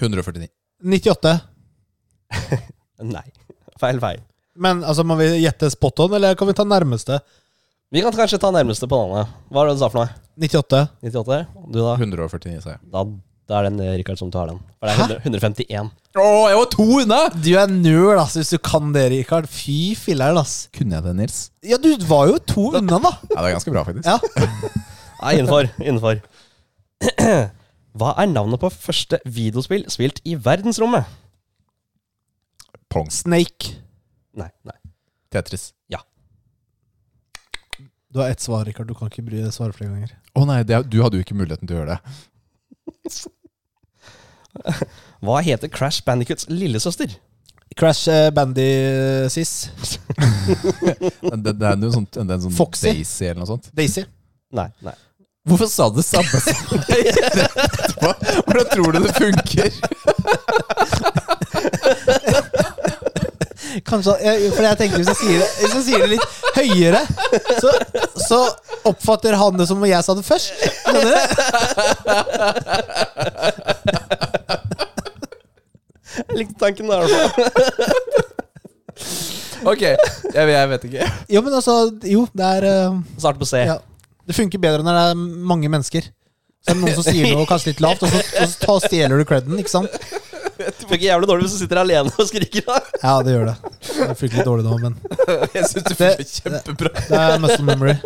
B: 149.
A: 98.
C: Nei. Feil, feil.
A: Men altså, må vi gjette spot on, eller kan vi ta nærmeste?
C: Vi kan kanskje ta nærmeste på navnet. Hva var det du sa for noe?
A: 98.
C: 98? Du da?
B: 149, sa jeg.
C: Da, da er det en, eh, Rikard som tar den. For det er 151.
B: Å, jeg var to unna!
A: Du er nerd, ass, hvis du kan det, Rikard. Fy filler'n, ass.
B: Kunne jeg det, Nils?
A: Ja, du var jo to unna, da.
B: Ja, det er ganske bra, faktisk.
A: Ja.
C: Nei, innenfor. innenfor. Hva er navnet på første videospill spilt i verdensrommet?
B: Pong.
A: Snake.
C: Nei. nei.
B: Tetris.
A: Du har ett svar, Rikard. Du kan ikke bry deg svare flere ganger.
B: Å nei, det, du hadde jo ikke muligheten til å gjøre det.
C: Hva heter Crash Bandicoots lillesøster?
A: Crash eh, Bandy Sis.
B: Det, det er jo sånn, det er en sånn
A: Foxy.
B: Daisy eller noe sånt.
A: Daisy.
C: Nei. nei.
B: Hvorfor sa du det samme som meg rett etterpå? Hvordan tror du det funker?
A: Kanskje, jeg, for jeg tenker hvis jeg sier det, hvis jeg sier det litt høyere, så, så oppfatter han det som om jeg sa det først. Skjønner du?
C: Jeg likte tanken der. i hvert fall.
B: Ok, jeg, jeg vet ikke.
A: Jo, men altså, jo, det er eh,
C: Start på C.
A: ja. Det funker bedre når det er mange mennesker. Så er det noen som sier noe kanskje litt lavt, og så, og så ta, stjeler du creden, ikke sant?
C: Funker jævlig dårlig hvis du sitter alene og skriker. da.
A: Ja, det gjør det. Det funker litt dårlig nå, men
B: Jeg syns det
A: funker
B: kjempebra.
A: det er muscle memory.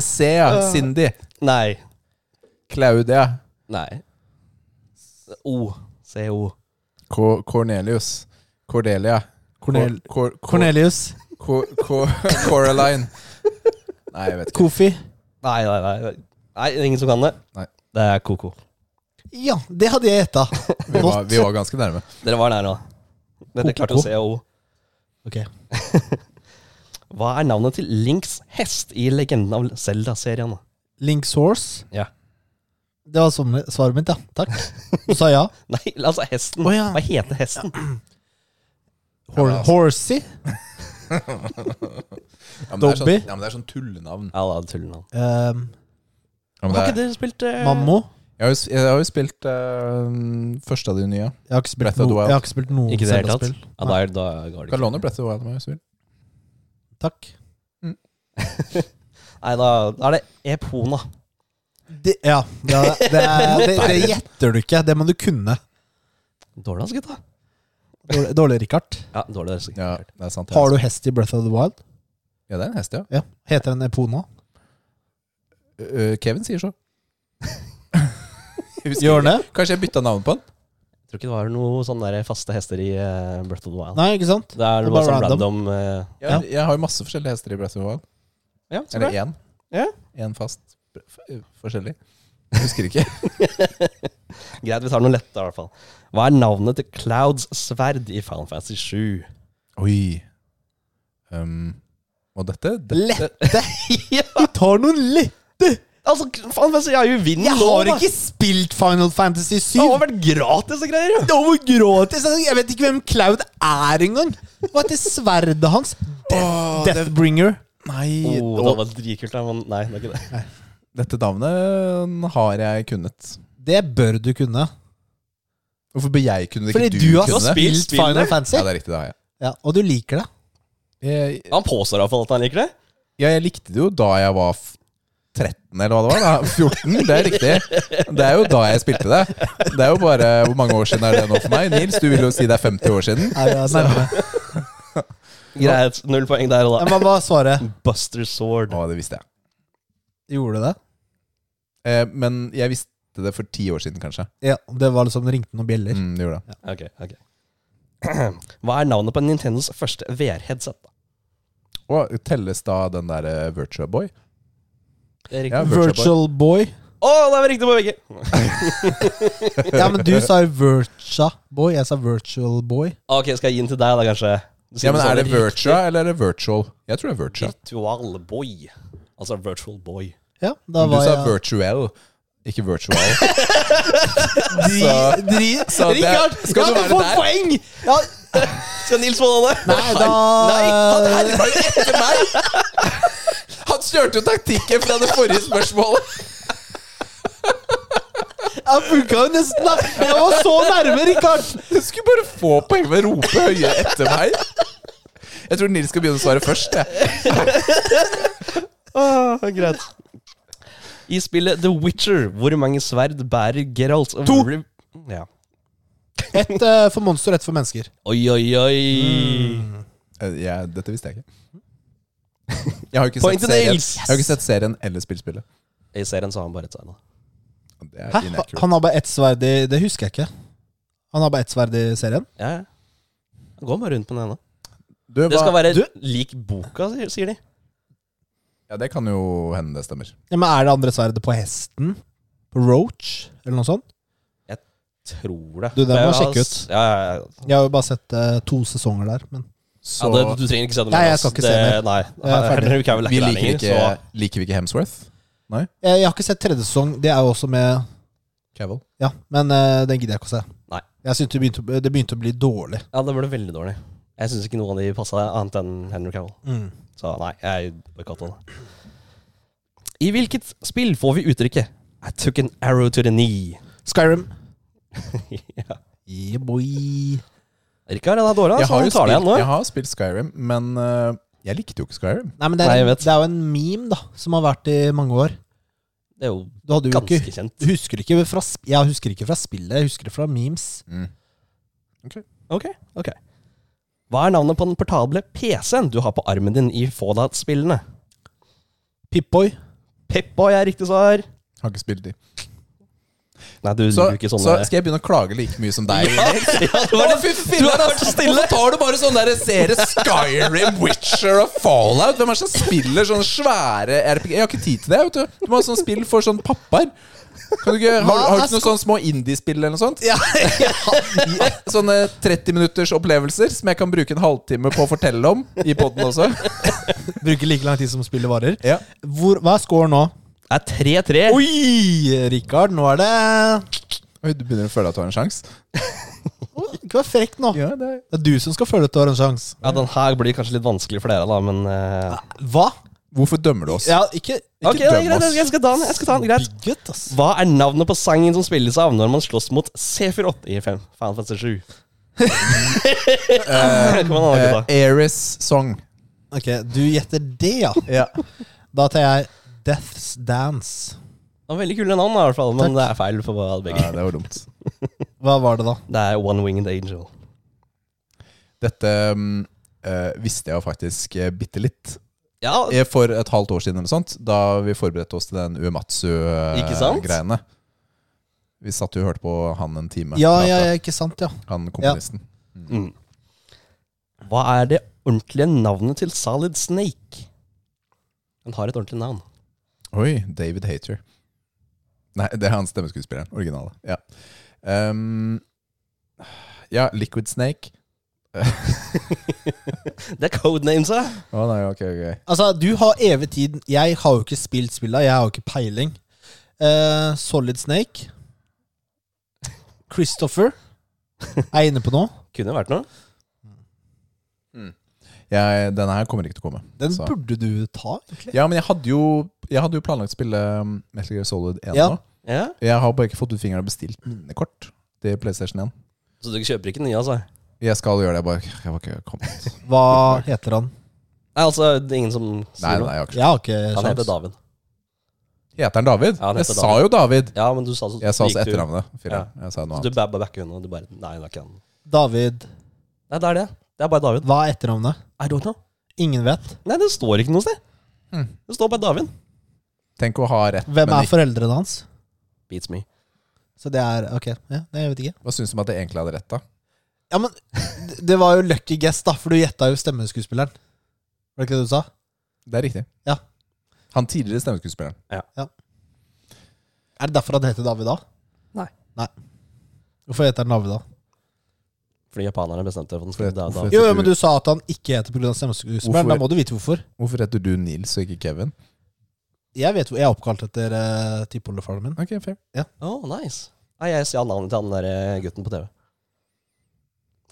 B: Se, ja. Cindy.
C: Nei.
B: Claudia.
C: Nei. O. CO.
B: K Cornelius. Cordelia.
A: Cornel
B: Cor Cor
A: Cornelius.
B: Cor Cor Coraline. Nei, jeg vet ikke.
A: Kofi.
C: Nei, nei, nei. nei. Nei, det er Ingen som kan det?
B: Nei.
C: Det er Koko.
A: Ja, det hadde jeg gjetta.
B: Vi var, vi var ganske nærme.
C: Dere var nær nå. Dere
A: Koko.
C: klarte å se O.
A: Ok.
C: Hva er navnet til Links hest i Legenden av Zelda-serien?
A: Link's Horse.
C: Ja.
A: Det var som- svaret mitt, ja. Takk. Du sa ja.
C: Nei, altså hesten.
A: Å, ja.
C: Hva heter hesten?
A: Hor
B: altså-
A: Horsey.
B: Ja, men det er sånn,
A: Dobby.
B: ja, men det er sånn tullenavn.
C: Ja, da, tullenavn.
A: Um,
B: Ja, men
C: Har ikke
B: det er,
C: dere spilt eh,
A: Mammo.
B: jeg, har jo, s- jeg har jo spilt eh, første av de nye.
A: Jeg har ikke spilt,
B: Breath of the
A: no
B: Wild.
A: jeg har ikke spilt noen
C: Ikke i det hele tatt?
A: Zelda-spill.
C: Ja, da, er- da går
B: Du
C: det
B: kan
C: ikke.
B: låne Brett Wild meg hvis du vil.
A: Takk.
C: Nei, da, da er det Epona.
A: Det, ja, ja det, det, det, det gjetter du ikke. Det må du kunne.
C: Dårlig, altså, gutta.
A: Dårlig, dårlig Richard.
C: Ja, dårlig, altså.
B: Ja, det er sant. det er
A: Har
B: en-
A: du hest i Breath of the Wild?
B: Ja, det er en hest, ja.
A: Ja. Heter den Epona?
B: Eh, Kevin sier så. Jeg husker
A: Gjør den det?
B: ikke. Kanskje jeg bytta navn på han?
C: Jeg tror ikke det var noen sånne der faste hester i eh, Breath of the Wild.
A: Nei, ikke sant?
C: Det er
A: Det er
C: bare
A: bare
C: sånn
A: random.
C: random, eh,
B: Jeg, jeg har jo masse forskjellige hester i Brett Wild.
C: Ja, så
B: Eller
C: bra.
B: én.
C: Ja.
B: Én fast f- f- forskjellig. Jeg husker ikke.
C: Greit, vi tar noe lett da, i hvert fall. Hva er navnet til Clouds sverd i Final Fantasy 7?
B: Oi. Um, og dette, dette
A: Lette!
C: ja,
A: Du tar noen lette!
C: altså, faen, jeg er jo i vinden
A: Jeg
C: nå,
A: har
C: da.
A: ikke spilt Final Fantasy 7!
C: Det har vært gratis og greier, jo.
A: Det var gratis! Altså, Jeg vet ikke hvem Cloud er engang! Hva heter sverdet hans?
B: Åh, det-
A: Deathbringer.
B: Nei,
C: Oh, det
B: og-
C: hadde vært dritkult, da, men nei, det er ikke det.
B: dette navnet har jeg kunnet.
A: Det bør du kunne.
B: Hvorfor bør jeg kunne det?
A: Fordi
B: ikke
A: du har
B: kunne det?
C: spilt
A: spilt Final
C: spillet.
A: Fantasy,
B: Ja, det er riktig, det har jeg.
A: ja, og du liker det.
B: Jeg,
C: Han påstår i hvert fall at han liker det.
B: ja, jeg likte det jo da jeg var f- 13, eller hva det var. da 14, det er riktig. Det er jo da jeg spilte det. Det er jo bare Hvor mange år siden er det nå for meg? Nils, du vil jo si det er 50 år siden.
A: Er jeg nærme?
C: Greit, null poeng der og da.
A: Men hva var svaret?
C: Buster Sword.
B: Å, det visste jeg.
A: Gjorde du det?
B: Eh, men jeg visste det for ti år siden, kanskje.
A: Ja, det var liksom det ringte noen bjeller.
B: Mm, det gjorde det.
C: Ok, ok. Hva er navnet på Nintendos første VR-headset? da?
B: Og telles da den der eh, Virtua Boy?
C: Det er
B: Ja,
C: riktig.
B: Virtua Boy.
A: Virtual Boy.
C: Å, det var riktig på begge!
A: Ja, men du sa Virtua Boy. Jeg sa Virtual Boy.
C: Ok, skal jeg gi den til deg, da, kanskje? Du sier
B: Ja, men
C: sånn
B: Er det
C: riktig.
B: Virtua eller er det Virtual? Jeg tror det er Virtua.
C: Virtual boy. Altså virtual boy.
A: Ja, da
B: Du
A: var
B: sa
A: jeg
B: Virtual, ikke Virtual.
A: Dri- dri-
B: så det-
A: Richard,
B: skal
A: ja,
B: du
A: du
B: være
A: får
B: der?
A: poeng! Ja,
C: Skal Nils få denne?
A: nei, da
B: han var jo etter meg! Han kjørte jo taktikken fra det forrige spørsmålet.
A: Jeg funka jo nesten, da! Jeg var så nærme, Richard!
B: Du skulle bare få poeng ved å rope høye etter meg. Jeg tror Nils skal begynne å svare først. Jeg.
C: Ah, greit. I spillet The Witcher, hvor mange sverd bærer Geralt? av
A: To.
C: Riv- Ja.
A: Ett eh, for monster, ett for mennesker.
C: Oi, oi, oi.
B: Eh, jeg- dette visste jeg ikke. Jeg har jo ikke,
C: Poeng
B: sett
C: til
B: serien.
C: Nils.
B: jeg har ikke sett serien eller spilt spillet.
C: I serien så har han bare et sverd. da.
B: Det er
A: Hæ?
B: inaccurate.
A: Han har bare ett sverd i Det husker jeg ikke. Han har bare ett sverd i serien.
C: Ja, ja. Han går bare rundt på den ene.
B: Du,
C: Det skal
B: hva-
C: være
A: Du-
C: lik boka, sier- sier de.
B: Ja, det kan jo hende det stemmer.
A: Ja, men Er det andre sverdet på hesten? På Roach, eller noe sånt?
C: Tror det.
A: Du, den
C: Men
A: må
C: jeg har
A: sjekke
C: s- Ja, ja, ja.
A: Jeg har jo bare sett eh, to sesonger der. Men
B: Så
C: ja det, du trenger ikke se den.
A: Nei,
C: mer,
A: jeg
C: ass.
A: skal ikke
C: det,
A: se mer.
C: Nei,
A: Jeg er ferdig.
C: Dere kan vel
B: vi
C: ikke
B: liker
C: lærlinger,
B: ikke,
C: så
B: liker vi ikke Hemsworth.
A: jeg, jeg har ikke sett tredje sesong. Det er jo også med
B: Cavill.
A: Ja, men eh, den gidder jeg ikke å se.
C: Nei.
A: Jeg synes det begynte, å- det begynte å bli dårlig.
C: Ja, det ble veldig dårlig. Jeg syns ikke noen av de passa annet enn Henry Cavill. Så nei, jeg boikotta det. I hvilket spill får vi uttrykket 'I took an arrow to the knee'?
A: Skyrim.
C: ja.
A: Yeah, boy.
C: Rikard, han er dårlig,
B: Jeg
C: altså.
B: har, jo
C: Han tar det igjen
B: spilt,
C: nå.
B: jeg har spilt Skyrim, men øh, jeg likte jo ikke Skyrim.
A: Nei, men det er,
C: Nei, jeg
A: en-
C: vet.
A: det er jo en meme da som har vært i mange år.
C: Det er jo
A: Du hadde jo
C: ganske
A: ikke
C: kjent.
A: du husker ikke fra, sp- Jeg husker ikke fra spillet, jeg husker det fra memes.
C: Mm. Ok, ok. Hva er navnet på den portable PC-en du har på armen din i Fallout-spillene?
A: Pipboy.
C: Peppa er riktig svar.
B: Har ikke spilt de.
C: Nei, du
B: Så,
C: liker ikke sånn, eh.
B: så
C: sånne
B: skal jeg begynne å klage like mye som deg. Nils?
C: ja, det var
B: Å,
C: det.
B: fy filler'n, ass! Hvorfor tar du bare sånn der serie Skyrim, Witcher og Fallout? Hvem er det som spiller sånne svære RPG? Jeg har ikke tid til det. vet Du Du må ha sånn spill for sånn pappaer. Kan du ikke, har,
A: Hva
B: har du
A: er
B: ikke noen sånne små indiespill eller noe sånt?
A: Ja, ja.
B: Sånne 30 minutters opplevelser som jeg kan bruke en halvtime på å fortelle om i poden også.
A: Bruker like lang tid som spillet varer.
B: Ja.
A: Hvor, hva er scoren nå?
C: Det er 3-3.
A: Oi, Rikard, nå er det
B: Oi, du begynner å føle at du har en sjanse?
A: Å, Ikke vær frekk nå.
B: Ja, det er
A: Det er du som skal føle at du har en sjanse.
C: Ja, den her blir kanskje litt vanskelig for dere, da, men eh,
A: Hva?
B: Hvorfor dømmer du oss?
A: Ja, ikke, ikke
C: Ok, det er
B: døm
C: greit,
B: oss.
C: jeg skal ta den. jeg skal ta den, greit.
A: Bigget, ass.
C: Hva er navnet på sangen som spilles av når man slåss mot C48 i 5? Final Fantasy 7? Kan man ha det, da?
B: Eh, Ares Song.
A: Ok, du gjetter det, ja.
B: Ja.
A: Da tar jeg Death's Dance.
C: Det var veldig kule navn, da, i hvert fall, men
A: Takk.
C: det er feil for begge.
B: Nei, det var dumt.
A: Hva var det, da?
C: Det er One Winged Angel.
B: Dette mm, eh, visste jeg jo faktisk uh, bitte litt.
C: Ja,
B: Eh, For et halvt år siden eller sånt, da vi forberedte oss til den
C: Ikke sant?
B: Uematsu-greiene. Vi satt jo og hørte på han en time.
A: Ja,
B: prate.
A: ja, ja, ikke sant, ja.
B: Han komponisten.
C: mm. Hva er det ordentlige navnet til Solid Snake? Den har et ordentlig navn.
B: Oi, David Hater. Nei, det er han stemmeskuespilleren. Originale. Ja. Ehm, ja, Liquid Snake.
C: Det er codenamesa!
B: Å nei, ok, ok.
A: Altså, du har evig tid Jeg har jo ikke spilt spillet, jeg har jo ikke peiling. Eh, Solid Snake. Christopher. Er jeg inne på noe?
C: Kunne vært noe.
B: Jeg, denne her kommer ikke til å komme.
A: Den
B: Så-
A: burde du ta, egentlig.
B: Ja, men jeg hadde jo, jeg hadde jo planlagt å spille um, Metal Gear Solid 1
A: Ja.
B: nå.
C: Ja.
B: Jeg har bare ikke fått ut fingeren og bestilt minnekort til PlayStation 1.
C: Så du kjøper ikke den nye, altså?
B: Jeg skal gjøre det, jeg bare jeg var ikke kommet.
A: Hva heter han?
C: Nei, altså, det er ingen som
B: Nei,
C: sier
B: nei,
C: noe.
B: jeg har ikke
A: Jeg har ikke
C: Han heter
A: sjans.
C: David.
B: Heter han David?
C: Ja, han heter
B: jeg sa jo David!
C: Ja, men du sa så
B: Jeg sa altså
C: gikk du-
B: etternavnet. Fyren. Jeg sa noe
C: Så
B: annet.
C: du ba- ba- backer unna, og du bare Nei, det er ikke han.
A: David
C: Nei, det er det. Det er bare David.
A: Hva er etternavnet?
C: I don't know.
A: Ingen vet.
C: Nei, det står ikke noe sted.
B: Mm.
C: Det står bare David.
B: Tenk å ha rett,
A: Hvem
B: men
A: er
B: ikke
A: foreldrene hans?
C: Beats me.
A: Så det er Ok, ja, det jeg vet ikke.
B: Hva syns du om at jeg egentlig hadde rett, da?
A: Ja, men d- det var jo lucky guess, da, for du gjetta jo stemmeskuespilleren. Var det ikke det du sa?
B: Det er riktig.
A: Ja.
B: Han tidligere stemmeskuespilleren.
A: Er det derfor han heter David da?
C: Nei.
A: Nei. Hvorfor heter han David da?
C: Fordi japanerne bestemte for den
B: For
C: skulle
B: et-
C: da,
B: for
C: da.
B: et-
A: Jo, jo, men du sa at han ikke heter pga. stemmeskuespilleren.
B: Hvorfor?
A: Da må du vite hvorfor.
B: Hvorfor heter du Nils og ikke Kevin?
A: Jeg vet hvor jeg er oppkalt etter uh, tippoldefaren min.
B: Ok, fair.
C: Oh, nice. Nei, jeg stjal navnet til han der eh, gutten på TV.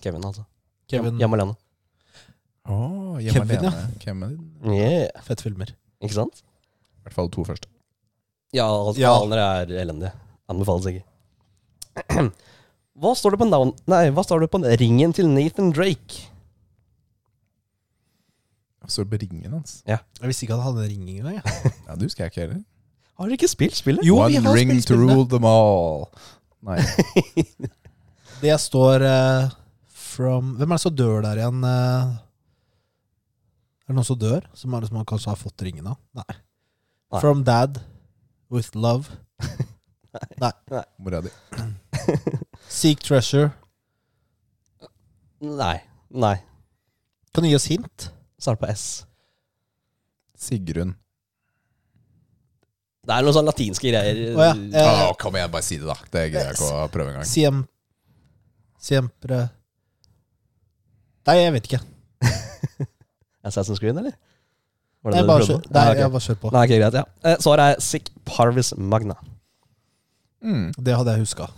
C: Kevin, altså.
A: Kevin.
C: Hjemme alene.
B: Oh,
A: Kevin,
B: Kevin, ja. Kevin.
C: Yeah.
A: Fett filmer.
C: Ikke sant?
B: I hvert fall to første.
C: Ja, altså,
A: Ja.
C: japanere er elendige. Anbefales ikke. Hva står det på navn... Nei, hva står det på ringen til Nathan Drake?
B: Så på ringen hans.
A: Jeg visste ikke at han hadde ring engang. jeg.
B: Ja, Det husker jeg ikke heller.
C: Har dere ikke spilt spillet?
A: Jo, vi
B: One
A: har
B: ring
A: spilt
B: to
A: spillene.
B: rule them all. Nei.
A: Det står eh, from Hvem er det som dør der igjen? eh? er det noen som dør? Som er det som han kanskje har fått ringen av? Nei.
C: Nei.
A: From dad with love.
B: Mora di.
A: Seek treasure.
C: Nei. Nei.
A: Kan du gi oss hint?
C: Start på S.
B: Sigrun.
C: Det er noen sånne latinske greier.
A: Å ja. eh,
B: Å, Ah, kom igjen, bare si det, da. Det gidder jeg ikke å prøve engang.
A: Siem... Siempre Nei, jeg vet ikke.
C: Assassin's Creed, eller? Var
A: Nei,
C: du
A: bare
C: prøvde
A: kjør,
C: på?
A: nei,
C: Nei, ok.
A: jeg bare kjør på.
C: Nei, ok, greit, ja. Eh, Svaret er Sick Parvis Magna.
B: Mm.
A: Det hadde jeg huska.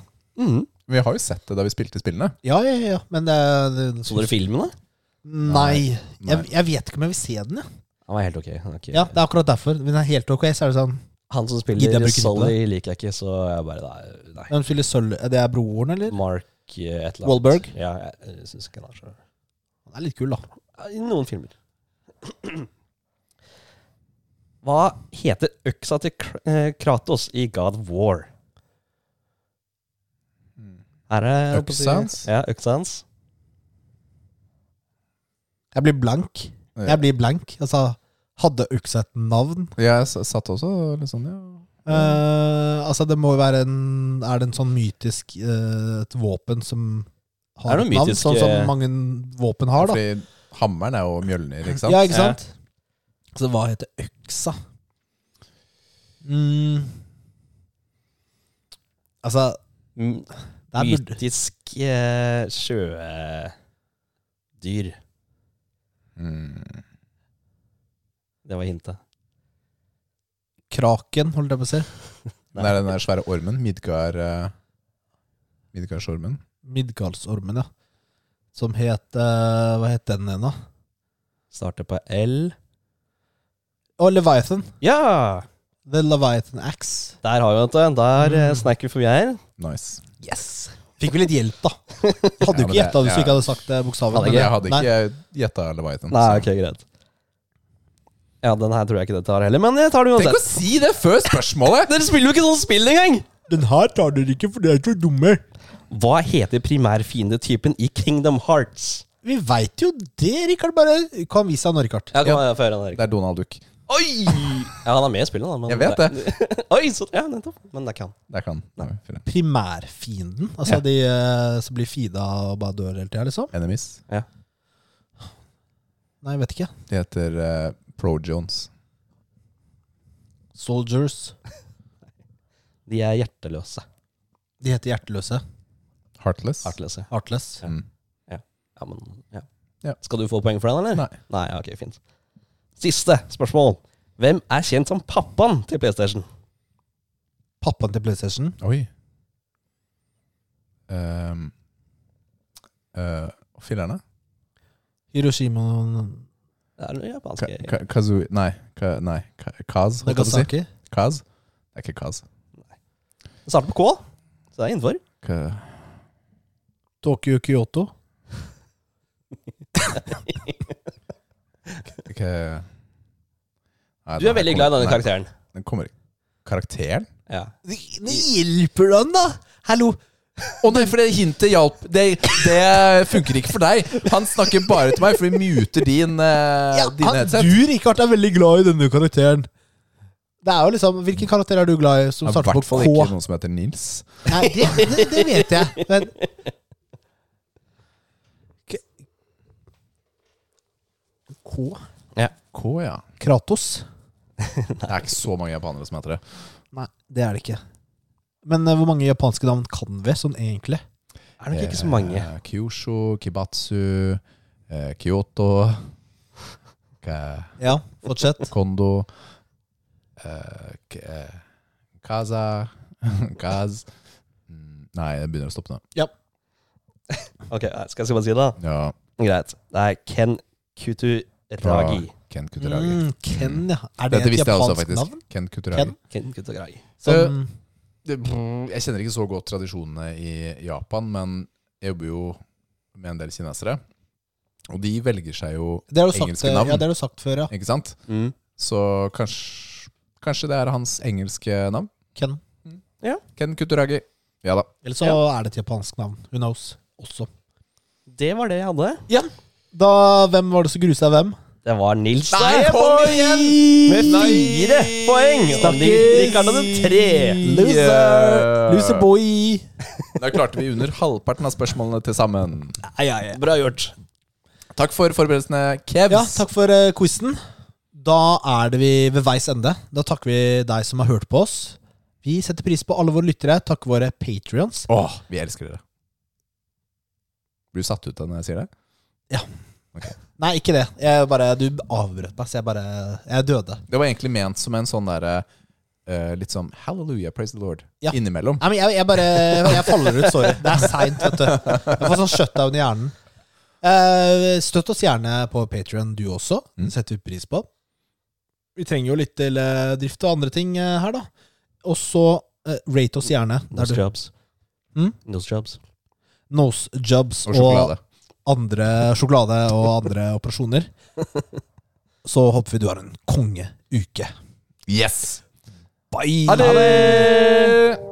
A: Mhm.
C: Mm.
B: Vi har jo sett det da vi spilte spillene.
A: Ja, ja, ja, men det, det
C: Så dere filmen, da?
A: Nei.
B: Nei.
A: Jeg, jeg vet ikke om jeg vil se den. Jeg.
C: Den var helt ok. den er ikke-
A: Ja, Det er akkurat derfor. Men den er helt ok, så er det sånn
C: Han som
A: Gidder jeg
C: spiller
A: bruke tid på
C: Solly, liker jeg ikke, så jeg bare Nei. nei.
A: Hvem spiller sølv? Det er broren, eller?
C: Mark eh, et eller annet.
A: Wahlberg?
C: Ja, jeg, jeg syns ikke han er så
A: Han er litt kul, da.
C: Ja, I noen filmer. Hva heter øksa til Kr- eh, Kratos i God of War?
B: Hmm.
C: Er det
B: Øksa hans?
C: Ja, øksa hans.
A: Jeg blir blank.
B: Ja.
A: Jeg blir blank. Altså, hadde øksa et navn?
B: Jeg s- satt også litt sånn, ja.
A: Eh, altså, det må jo være en Er det en sånn mytisk eh, Et våpen som har
C: Er det
A: et
C: noe
A: navn?
C: mytisk,
A: Sånn som
C: eh,
A: mange våpen har, da.
B: Fordi hammeren er jo Mjølner, ikke sant?
A: Ja, ikke sant? Så hva heter øksa? Mm. Altså,
C: M-
A: der burde
C: Mytisk eh, sjødyr.
B: Mm.
C: Det var hintet.
A: Kraken, holdt jeg på å si.
B: Det er den der svære ormen. Midgard eh, Midgardsormen.
A: Midgardsormen, ja. Som het eh, Hva het den igjen, da?
C: Starter på L.
A: Og Leviathan.
C: Ja!
A: The Leviathan Axe.
C: Der har vi det. Der
B: Hmm.
C: eh, snakker vi forbi her.
B: Nice.
A: Yes! Fikk vi litt hjelp, da. Hadde jo
B: Ja, men
A: ikke gjetta
B: det-
A: hvis du
B: ja.
A: ikke hadde sagt det bokstaven. men
C: Hadde ikke-
A: det-
B: Jeg hadde
A: nei.
B: ikke gjetta Leviathan.
C: Nei,
B: så-
C: ok, greit. Ja, den her tror jeg ikke det tar heller, men jeg tar det
B: Tenk å
C: uansett.
B: si det før spørsmålet!
C: Dere spiller jo ikke sånn spill engang!
A: Den her tar dere ikke, for dere er så dumme.
C: Hva heter primærfiendetypen i Kingdom Hearts?
A: Vi veit jo det, Rikard. Bare kan vise deg Norge-kart.
C: Ja, kom, jeg får høre den her.
B: Det er Donald Duck.
C: Oi! Ja, han er med i spillet, da. Men
B: Jeg vet det.
C: Oi, så, ja, nettopp. Men det er ikke han.
B: Der kan Nei, fyller.
A: Primærfienden. Altså de eh, som blir feeda og bare dør hele tida, liksom.
B: Enemies.
C: Ja.
A: Nei, jeg vet ikke.
B: De heter eh, Pro Jones.
A: Soldiers.
C: De er hjerteløse.
A: De heter hjerteløse.
B: Heartless.
C: Artløse.
A: Heartless.
B: Mm.
C: Ja, men, ja.
B: Ja.
C: Skal du få poeng for den, eller?
B: Nei.
C: Nei, ja, ok, fint. Siste spørsmål. Hvem er kjent som pappaen til PlayStation?
A: Pappaen til PlayStation.
B: Oi. Um, uh, Fillerne?
A: Hiroshima
C: Det er noe japansk
B: Ka- ka- Kazoo Nei, ka, nei ka, Kaz, holdt jeg på å si.
A: Nagasaki.
B: Kaz? Det er ikke Kaz.
C: Det starter på K, så det er innenfor.
B: Ka,
A: Tokyo Kyoto.
B: ka, nei,
C: Du er veldig glad i denne
B: karakteren.
C: karakteren.
B: Den kommer ikke Karakteren?
C: Ja.
A: Det det hjelper den, da! Hallo!
B: Å nei, for det hintet hjalp. Det, det funker ikke for deg. Han snakker bare til meg, for vi muter din, eh,
A: Ja,
B: dine
A: han,
B: headset.
A: du, Rikard, er veldig glad i denne karakteren. Det er jo liksom, Hvilken karakter er du glad i som
B: Det er I
A: starter
B: hvert
A: på
B: fall
A: K?
B: ikke noen som heter Nils.
A: Nei, det, det, det vet jeg. Men K K?
B: K, ja.
A: Kratos?
B: Det er ikke så mange japanere som heter det.
A: Nei, det er det ikke. Men eh, hvor mange japanske navn kan vi, sånn egentlig?
C: Er nok ikke så mange.
B: Eh, Kyosho, Kibatsu, eh, Kyoto Ka-
A: Ja, fortsett.
B: Kondo eh, K- eh, Kaza Kaz Mm, Nei, jeg begynner å stoppe nå.
C: Ok, Skal jeg bare si det? da?
B: Ja,
C: Greit. Det er Ken
B: fra
C: Kuturagi.
B: Ken Kuturagi.
A: Mm, Ken, ja. Er det
B: Dette
A: et
B: visste jeg også,
A: japansk
B: faktisk.
A: navn? Sånn,
B: Ken Kuturagi.
A: Ken?
C: Ken Kuturagi.
A: Som,
B: det, mm, jeg kjenner ikke så godt tradisjonene i Japan, men jeg jobber jo med en del kinesere. Og de velger seg jo,
A: det har du sagt,
B: engelske
A: eh,
B: navn.
A: ja, det har du sagt før, ja.
B: ikke sant?
C: Mm.
B: Så kanskje, kanskje det er hans engelske navn?
A: Ken.
B: Ken Kuturagi. Ja da.
A: Eller så er det et japansk navn. Who knows? Også.
C: Det var det jeg hadde.
A: Da, hvem var det som grusa hvem?
C: Det var Nils
B: Nei,
C: der,
B: kom
C: boy!
B: igjen!
C: Med
B: Nei!
C: fire poeng!
A: Stakkars.
C: Rikard hadde tre.
A: Loser! Loser boy!
B: Da klarte vi under halvparten av spørsmålene til sammen.
C: Bra gjort.
B: Takk for forberedelsene, Kevs.
A: Ja, takk for uh, quizen. Da er det vi ved veis ende. Da takker vi deg som har hørt på oss. Vi setter pris på alle våre lyttere. Takker våre patrions.
B: Åh, vi elsker dere. Blir du satt ut av når jeg sier det?
A: Nei, ikke det. Jeg bare, du avbrøt meg, så jeg bare Jeg døde.
B: Det var egentlig ment som en sånn derre eh, Litt sånn hallelujah, praise the Lord.
A: Ja.
B: Innimellom.
A: Nei, men jeg, jeg bare Jeg faller ut, sorry. Det er seint, vet du. Jeg får sånn shutdown i hjernen. Eh, støtt oss gjerne på Patrion, du også. Det setter vi pris på. Mm. Vi trenger jo litt til eh, drift og andre ting eh, her, da. Og så eh, rate oss gjerne. Der du,
C: Nosejobs.
A: Mm?
C: Nosejobs.
A: nose jobs
B: Og sjokolade.
A: andre sjokolade og andre operasjoner. Så håper vi du har en kongeuke.
B: Yes!
A: Bye!
B: Ha det!